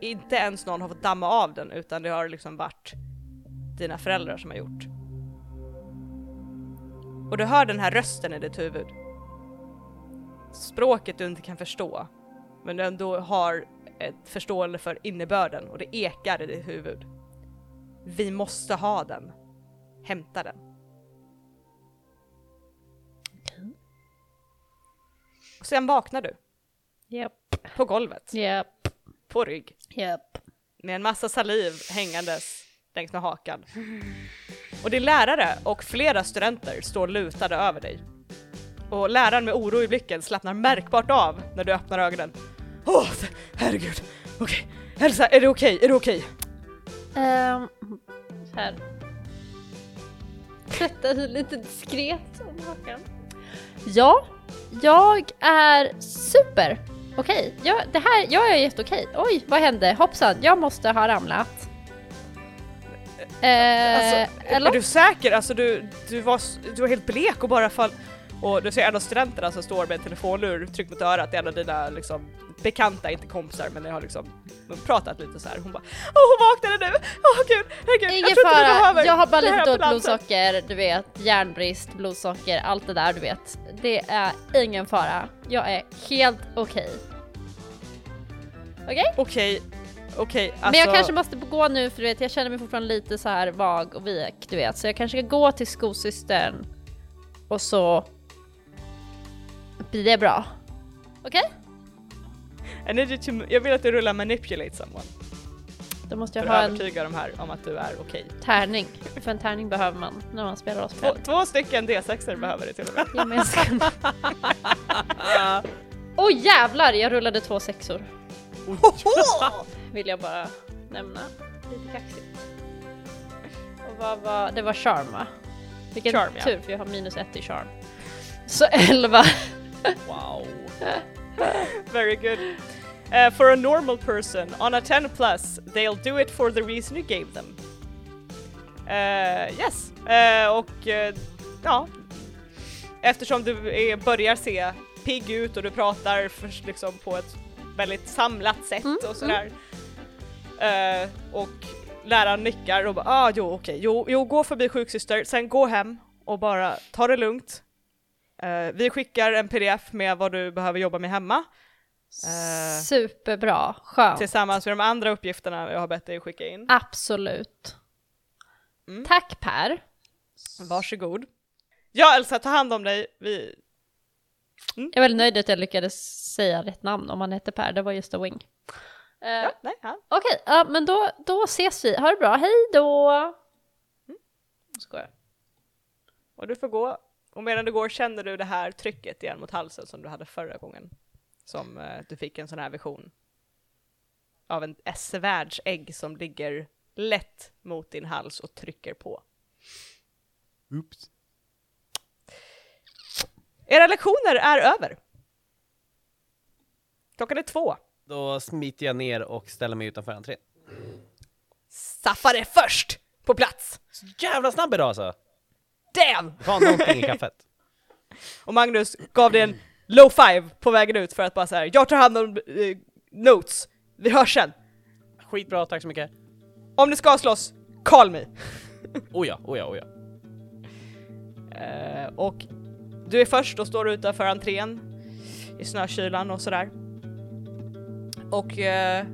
inte ens någon har fått damma av den utan det har liksom varit dina föräldrar som har gjort. Och du hör den här rösten i ditt huvud. Språket du inte kan förstå men du ändå har ett förståelse för innebörden och det ekar i ditt huvud. Vi måste ha den. Hämta den. Okej. Och sen vaknar du Japp, på golvet, japp, på rygg, japp. med en massa saliv hängandes längs med hakan. Och din lärare och flera studenter står lutade över dig. Och läraren med oro i blicken slappnar märkbart av när du öppnar ögonen. Åh, herregud, okej. Elsa, är det okej? Är det okej? Ehm, så här. Sätta sig lite diskret om hakan. Ja, jag är super. Okej, ja, det här, jag är jätteokej. Oj, vad hände? Hoppsan, jag måste ha ramlat. Eh, Alltså, eller? Eh, Är du säker? Alltså du, du, var, s- du var helt blek och bara fall... Och du ser en av studenterna som står med en telefonlur tryckt mot örat, det är en av dina liksom, bekanta, inte kompisar men ni har liksom pratat lite så här. Hon bara Åh hon vaknade nu! Åh gud, herregud, Ingen jag tror inte du fara, behöver jag har bara det här lite dåligt ambulansen." blodsocker, du vet, järnbrist, blodsocker, allt det där du vet. Det är ingen fara. Jag är helt okej. Okej? Okej, okej alltså. Men jag kanske måste gå nu för du vet, jag känner mig fortfarande lite så här vag och vek, du vet. Så jag kanske ska gå till skosystern och så blir det bra. Okej? I need you to, jag vill att du rullar manipulate someone. Då måste För jag att ha en övertyga de här om att du är okej. tärning. För en tärning behöver man när man spelar rollspel. Två, två stycken D6 behöver du till och med. Ja, men jag ska... *laughs* Åh jävlar, jag rullade två sexor. *laughs* Vill jag bara nämna. Lite kaxigt. Och vad var... Det var charm va? Vilken Charm, ja. tur för jag har minus ett i charm. Så 11. Eh. Wow. *laughs* Very good. Uh, for a normal person, on a 10 plus, they'll do it for the reason you gave them. Eh, yes. Eh, och eh, ja, eftersom du är, börjar se pigg ut och du pratar först liksom på ett väldigt samlat sätt och sådär. Eh, och läraren nickar och bara ah, jo okej, jo, jo gå förbi sjuksyster, sen gå hem och bara ta det lugnt. Eh, vi skickar en pdf med vad du behöver jobba med hemma Eh. Superbra, skönt. tillsammans med de andra uppgifterna jag har bett dig skicka in. Absolut. Mm. Tack Per. Varsågod. Ja Elsa, ta hand om dig. Vi... Jag är väldigt nöjd att jag lyckades säga rätt namn om han hette Per, det var just a wing. Eh, Ja, nej, ja. Okej, ja, men då, då ses vi. Ha det bra, hej då! Skojar. Och du får gå. Och medan du går känner du det här trycket igen mot halsen som du hade förra gången. Som eh, du fick en sån här vision. Av en ett svärdsägg som ligger lätt mot din hals och trycker på. Oops. Era lektioner är över. Klockan är två. Då smiter jag ner och ställer mig utanför entrén. Saffa är först på plats. Så jävla snabb idag alltså! Damn! Fan någonting *laughs* i kaffet. Och Magnus gav dig en low five på vägen ut för att bara så här. jag tar hand om eh, notes, vi hörs sen. Skitbra, tack så mycket. Om ni ska slåss, call me! Oh ja, oh ja, oh ja. Eh, och du är först och står utanför entrén i snökylan och sådär. Och eh,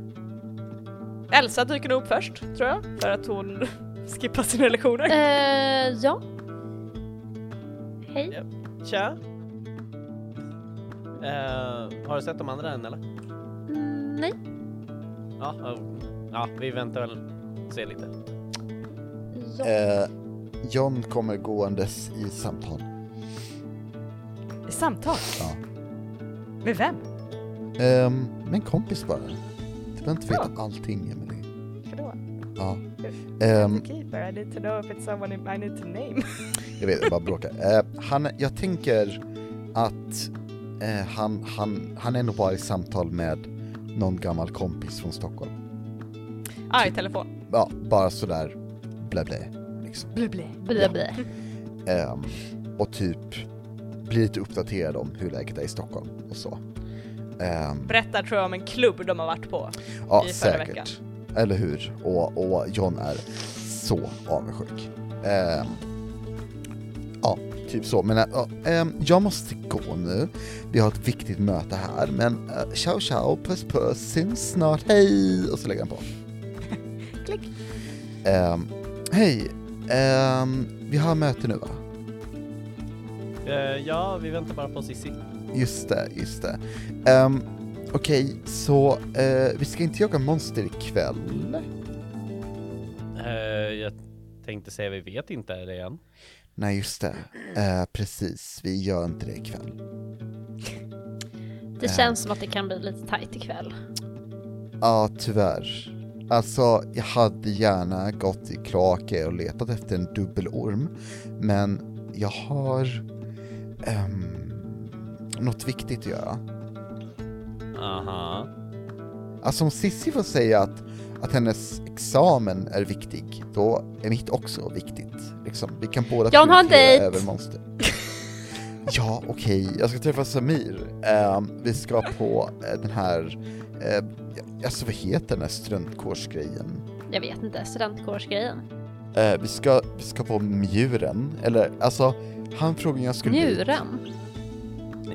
Elsa dyker nog upp först, tror jag, för att hon *laughs* skippar sina lektioner. Eh, ja. Hej. Tja! Eh, har du sett de andra än eller? Mm, nej. Ja, oh. ja vi väntar väl och ser lite. Ja. Eh, John kommer gåendes i samtal. I samtal? Ja. Med vem? Ehm, med en kompis bara. Du behöver inte veta allting Emelie. Förlåt. Ja. Ehm, Keeper, I need to know if it's someone I need to name. jag vet, jag bara bråkar. Eh, han, jag tänker att eh, han, han, han är nog bara i samtal med någon gammal kompis från Stockholm. ah, i telefon. Ja, bara sådär blä blä. Liksom. Blä, blä. Ehm, och typ blir lite uppdaterad om hur läget är i Stockholm och så. Ehm, Berättar tror jag om en klubb de har varit på. ja, i förra säkert. Eller hur? Och, och John är så avundsjuk. Ehm, ja, typ så. Men ja, ehm, jag måste gå nu. Vi har ett viktigt möte här, men eh, ciao ciao, puss puss, syns snart, hej! Och så lägger han på. *laughs* Klick. Ehm, hej, Ehm, vi har möte nu va? Eh, ja, vi väntar bara på Cissi. Just det, just det. Ehm, Okej, så eh, vi ska inte jaga monster ikväll. Eh, jag tänkte säga vi vet inte det igen. Nej, just det. Eh, precis, vi gör inte det ikväll. Eh. Det känns som att det kan bli lite tajt ikväll. Ja, tyvärr. Alltså, jag hade gärna gått i kloaker och letat efter en dubbelorm, men jag har ehm, något viktigt att göra. Aha. Alltså om Sissi får säga att, att hennes examen är viktig, då är mitt också viktigt. Liksom, vi kan båda Jan har en prioritera *laughs* dejt. över monster. Ja, okej. Jag ska träffa Samir. Ehm, vi ska på eh, den här, uh, alltså vad heter den här studentkårsgrejen? Jag vet inte, studentkårsgrejen. Eh, vi, ska, vi ska på Mjuren, eller alltså, han frågade om jag skulle dit. Njuren?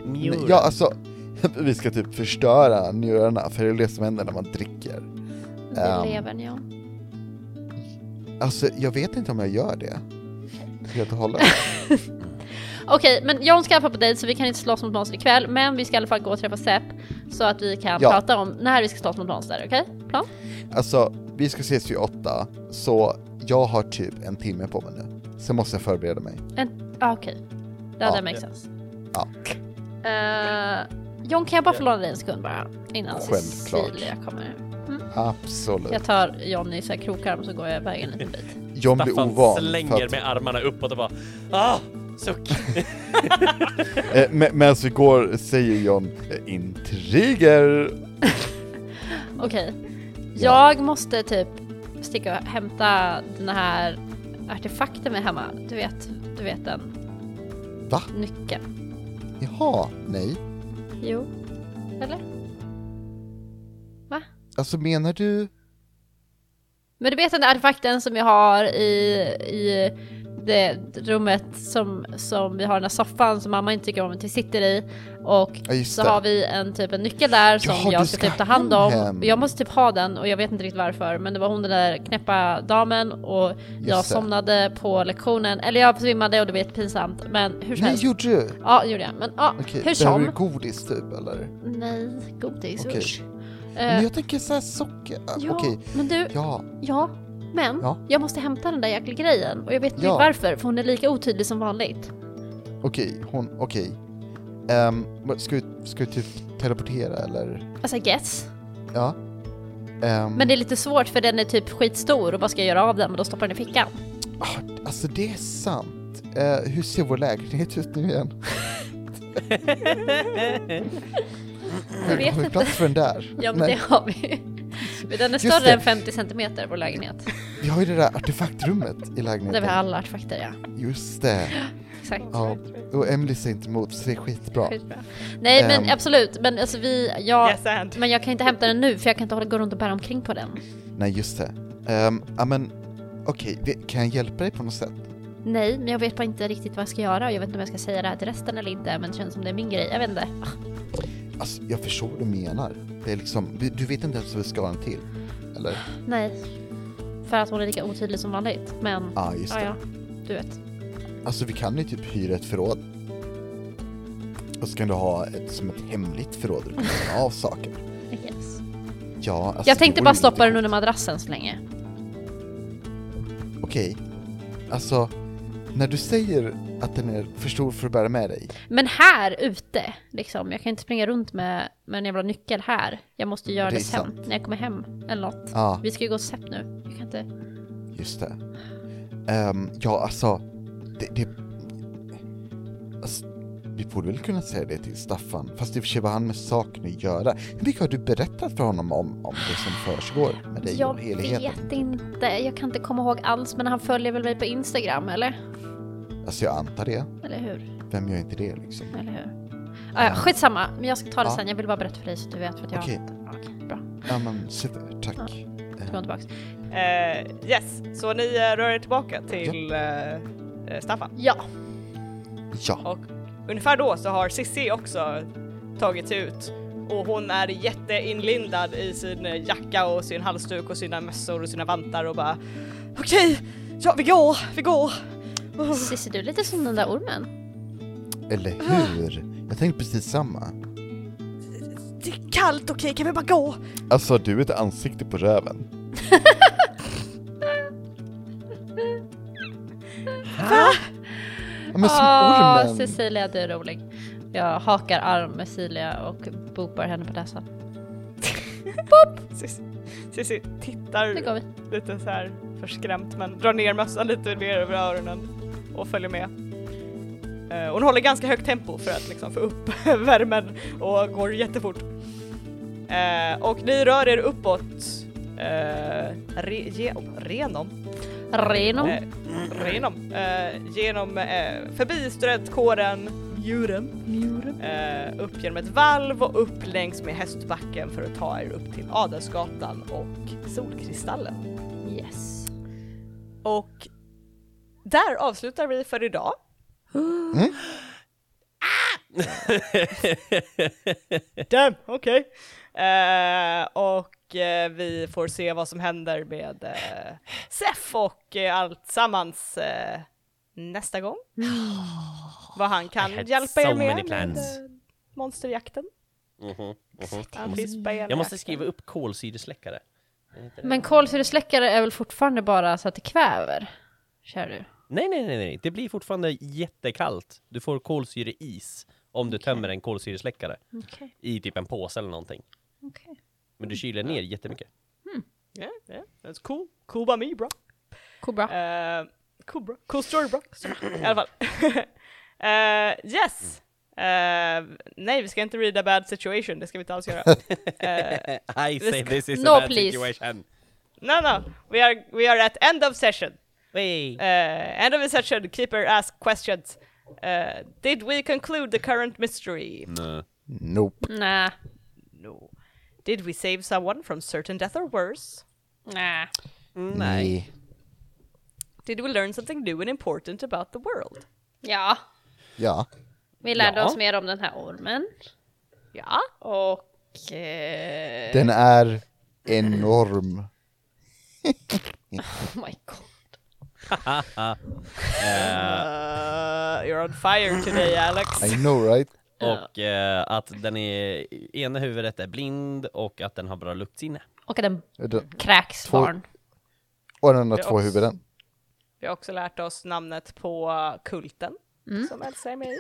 *laughs* Mjur. Ja, alltså, *laughs* vi ska typ förstöra njurarna, för det är det som händer när man dricker. Det Ehm. lever ni om. Alltså, jag vet inte om jag gör det. Helt och *laughs* hållet. Okej, men John ska i alla fall på dejt så vi kan inte slåss mot monster ikväll. Men vi ska i alla fall gå och träffa Sepp så att vi kan Ja. prata om när vi ska slåss mot monster, okej? Plan? Alltså, vi ska ses vid åtta, så jag har typ en timme på mig nu. Sen måste jag förbereda mig. En, ah, okej. Det Ja. hade makes sense. Ja. Eh, John, kan jag bara få låna dig en sekund bara? Innan Självklart. Cecilia kommer. Absolut. Jag tar John i så här krokarm så går jag iväg en *laughs* liten bit. John blir Staffan ovan. slänger för med armarna uppåt och bara ah, suck. att, eh, med, medan vi går säger John eh, intriger. Okej. Ja. Jag måste typ sticka och hämta den här artefakten vi har hemma. Du vet, du vet den. Va? Nyckeln. Jaha, nej. Jo. Eller? Va? Alltså menar du? Men du vet den där artefakten som vi har i, i det rummet som, som vi har den där soffan som mamma inte tycker om att vi sitter i. Och Ja, just så det. har vi en typ en nyckel där som Jaha, du jag ska, ska typ ta hand om. hem. Och Jag måste typ ha den och jag vet inte riktigt varför. Men det var hon den där knäppa damen och jag det. somnade på lektionen. Eller jag svimmade och det var jättepinsamt. Men hur som Nej, helst. gjorde du? Ja, det gjorde jag. Men ja, Okej, hur det här som. Eh, är godis typ eller? Nej, godis. Okej. usch. Men Eh, jag tänker såhär socker... eh, ja, Okej, men du, ja. Ja, men Ja. jag måste hämta den där jäkla grejen och jag vet inte Ja. varför för hon är lika otydlig som vanligt. Okej, hon, okej. Ehm, vad- ska, vi, ska vi typ teleportera eller? Alltså guess. Ja. Ehm, Men det är lite svårt för den är typ skitstor och vad ska jag göra av den? Men då stoppar den i fickan. ah, alltså det är sant. Eh, hur ser vår lägenhet ut nu igen? Jag vet Har vi inte. plats för den där? *laughs* Ja men Nej, det har vi. Men den är Just större det. än 50 centimeter vår lägenhet. Vi har ju det där artefaktrummet i Där lägenheten. vi har alla artefakter ja. Just det. Exakt. Ja. Och Emily säger inte emot så det är skitbra. Skitbra. Nej men Ehm. absolut, men alltså vi, jag, Yes and. men jag kan inte hämta den nu för jag kan inte hålla, gå runt och bära omkring på den. Nej just det. Ehm, ja men okej, vi- kan jag hjälpa dig på något sätt? Nej, men jag vet bara inte riktigt vad jag ska göra och jag vet inte om jag ska säga det här till resten eller inte men det känns som det är min grej, jag vet inte. Alltså jag förstår vad du menar. Det är liksom, vi- du vet inte ens vad vi ska ha den till? Eller? Nej. För att hon är lika otydlig som vanligt. Men Ja ah, just ja, det. ja, du vet. Alltså vi kan ju typ hyra ett förråd. Och så kan du ha ett som ett hemligt förråd där du kan stänga av saker. I guess. Ja, alltså, Jag tänkte det bara vore stoppa den lite under madrassen så länge. coolt. Okej. Alltså, när du säger att den är för stor för att bära med dig. Men här ute, liksom. Jag kan inte springa runt med, med en jävla nyckel här. Jag måste göra Mm, Det det, är sen, sant. när jag kommer hem. Eller något. Ja, ah, Vi ska ju gå och sepp nu. Jag kan inte... just det. Ehm, ja, alltså. Det, det... Alltså, vi borde väl kunna säga det till Staffan. Fast i och för sig vad han med saken att göra. Hur mycket har du berättat för honom om, om det som försiggår med dig Jag och helheten? vet inte. Jag kan inte komma ihåg alls. Men han följer väl mig på Instagram, eller? Alltså jag antar det. Eller hur? Vem gör inte det liksom? Eller hur? Ah, ja, skitsamma. Men jag ska ta det Ja. sen. Jag vill bara berätta för dig så att du vet. För att jag... Okej. Okej, bra. Ja men super, tack. Eh, Så går jag tillbaks. Eh, yes, så ni eh, rör er tillbaka till eh, eh, Staffan. Ja. Ja, Och ungefär då så har Sissi också tagit sig ut och hon är jätteinlindad i sin eh, jacka och sin halsduk och sina mössor och sina vantar och bara okej, ja vi går, vi går. Oh. Cissi, du är lite som den där ormen. eller hur? Jag tänkte precis samma. Det är kallt, okej kan vi bara gå? Alltså du är ett ansikte på röven. Ja, men som Åh, ormen. Cecilia, du är rolig. Jag hakar arm med Cecilia och bopar henne på näsan. Sissi, Sissi tittar Nu går vi. lite så här förskrämt men drar ner mössan lite mer över öronen och följer med. Eh, och hon håller ganska högt tempo för att liksom få upp *laughs* värmen och går jättefort. Eh, och ni rör er uppåt eh, re, genom, renom, Reno. eh, renom, eh, genom, eh, förbi studentkåren, muren, Muren. eh, upp genom ett valv och upp längs med hästbacken för att ta er upp till Adelsgatan och Solkristallen. Yes. Och där avslutar vi för idag. Mm. Ah! *laughs* Damn, okej. Eh, och eh, vi får se vad som händer med eh, Sef och eh, allt sammans eh, *gasps* nästa gång. vad han kan I had hjälpa er so med, many med plans. eh, monsterjakten. Mhm, mhm. Han finns på Jag måste skriva upp kolsyresläckare. Men kolsyresläckare är väl fortfarande bara så att det kväver? Kör du? Nej, nej, nej, nej, det blir fortfarande jättekallt. Du får kolsyreis om du tömmer en kolsyresläckare Okej. i typ en påse eller någonting. Okej. Men du kyler ner *laughs* jättemycket. Yeah, yeah, that's cool. Cool by me bro. Kobra. Eh, cool bro. Cool story bro. I alla fall. *laughs* Eh, yes! Eh, nej, vi ska inte read a bad situation, det ska vi inte alls göra. Eh, I say this is No, a bad please. situation. no, no, we are, we are at end of session. Wait. Uh, end of the session, keeper ask questions. Uh, did we conclude the current mystery? Nope. Nä. No. Did we save someone from certain death or worse? Nä. Nej. Did we learn something new and important about the world? Ja. Ja. Vi lärde Ja. oss mer om den här ormen. Ja. Och... Eh... Den är enorm. Oh my god. Uh, you're on fire today, Alex. I know right? Och eh, att den är, ena huvudet är blind och att den har bra luktsinne. Och att den Den- kräks Två- barn. Och den har Ja. två huvuden. Vi har också lärt oss namnet på kulten Mm. som Elsa är med i.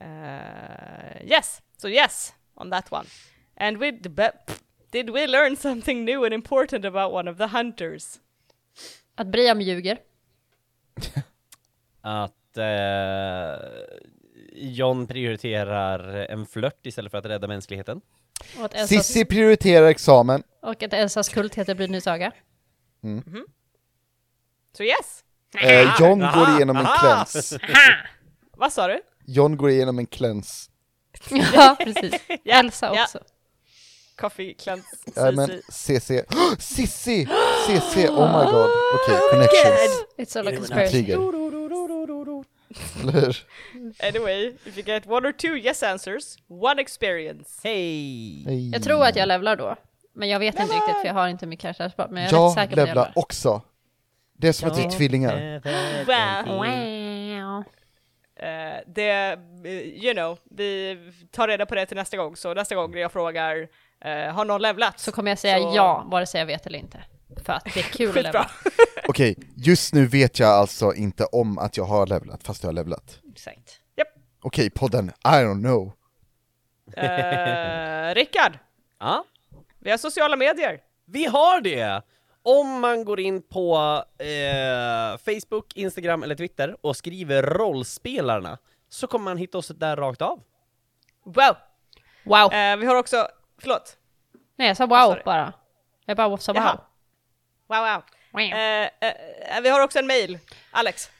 Eh, yes, so yes on that one. And we d- be- did we learn something new and important about one of the hunters? Att Briam ljuger. Att eh, John prioriterar en flört istället för att rädda mänskligheten. Och att Elsas, Sissi prioriterar examen. och att Elsas kult heter Brynny Saga. Så yes, Eh, John går igenom en cleanse. vad sa du? John går igenom en cleanse. ja, precis. Elsa ja. också. Coffee cleanse. Ja, men *gasps* CC. Sissi! CC! Oh my *gasps* god. Okej, connections. It's all a conspiracy. Intriger. Eller hur? Anyway, if you get one or two yes answers, one experience. Hej! Hej. Jag tror att jag levlar då. Men jag vet inte riktigt för jag har inte min karaktärsbar. Men jag är rätt Jag säker på att jag levlar levlar. också. Det är som att vi är Eh. tvillingar. Wow. Wow. Eh, det, eh, you know, vi tar reda på det till nästa gång. Så nästa gång när jag frågar, eh, har någon levlat? Så kommer jag säga Så- ja, vare sig jag vet eller inte. För att det är kul att levla. *laughs* Okej, just nu vet jag alltså inte om att jag har levlat, fast jag har levlat. Exakt. Okej, podden, I don't know. Eh, Rickard, Ja, vi har sociala medier. vi har det! Om man går in på eh, Facebook, Instagram eller Twitter och skriver rollspelarna så kommer man hitta oss där rakt av. Wow! Wow. Eh, vi har också, förlåt. Nej, jag sa sa wow du? bara. Jag bara sa wow. Jaha. Wow, wow. Wow. Eh, eh, vi har också en mail, Alex.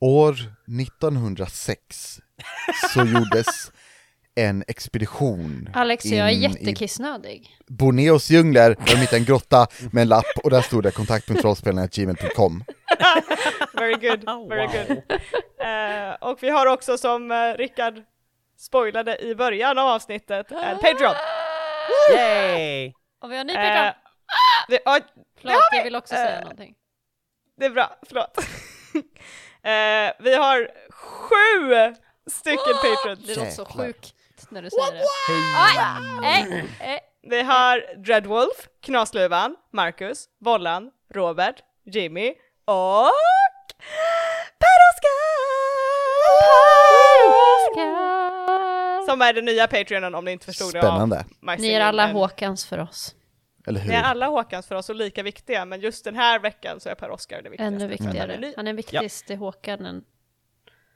År 1906 så *laughs* gjordes en expedition Alex, jag är in i jättekissnödig. Borneos djungler, där de hittade en grotta med en lapp och där stod det kontakt.rollspelarna.gmail.com Very good, very good. Eh, och vi har också som eh, Rickard spoilade i början av avsnittet, eh, en *laughs* Patreon. Yay! Och vi har en ny Eh, Patreon. det, ja, det Förlåt, har vi. jag vill också säga Eh, någonting. Det är bra, förlåt. *laughs* Eh, vi har sju stycken Du patrons. låter så jäklar. sjukt när du säger det. Nej, Eh, nej, Vi har Dreadwolf, Knaslövan, Marcus, Vollan, Robert, Jimmy och Per-Oskar! nej. Som är den nya Patreonen om ni inte förstod det. av Spännande, My Ni är Singing alla Man. Håkans för oss. eller hur? Ni är alla Håkans för oss och lika viktiga, men just den här veckan så är Per-Oskar det viktigaste. Ännu Han är viktigare. ny. Han är viktigast i Håkan än...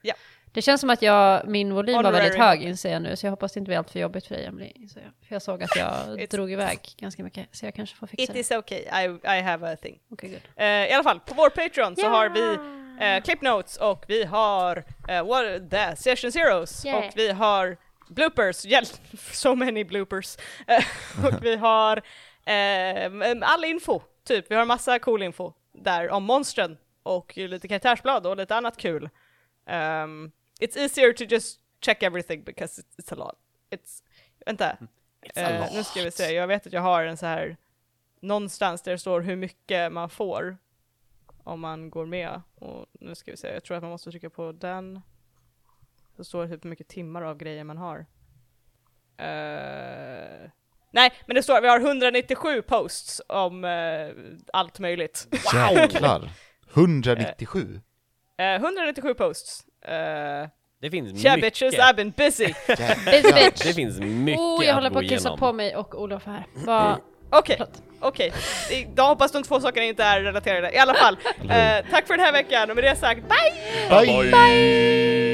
Ja. Det känns som att jag, min volym var Honorary. väldigt hög inser jag nu, så jag hoppas det inte blir allt för jobbigt för dig Emelie, inser jag. För jag såg *laughs* att jag drog iväg ganska mycket, så jag kanske får fixa It det. is okay, I, I have a thing. Okej, good. Eh, I alla fall, på vår Patreon så har vi eh, clip notes och vi har eh, what the session zeros Yeah. och vi har bloopers, hjälp, *laughs* so many bloopers. Eh, och vi har eh, all info, typ. Vi har massa cool info där om monstren och ju lite karaktärsblad och lite annat kul. Ehm, it's easier to just check everything because it's, it's a lot. It's, vänta. Eh, nu ska vi se, jag vet att jag har en så här någonstans där det står hur mycket man får om man går med. Och nu ska vi se, jag tror att man måste trycka på den. Så står det typ hur mycket timmar av grejer man har. Eh, nej, men det står vi har 197 posts om eh, allt möjligt. *laughs* Jäklar! 197! Eh, 197 posts. Eh, Det finns yeah mycket. bitches, I've been busy. Busy bitch! Det finns mycket Oh, jag håller att på gå att kissa igenom. på mig och Olof här. Vad... Okej, Förlåt. okej. I- Då hoppas de två sakerna inte är relaterade. I alla fall, eh, tack för den här veckan och med det sagt, bye! Bye! Bye.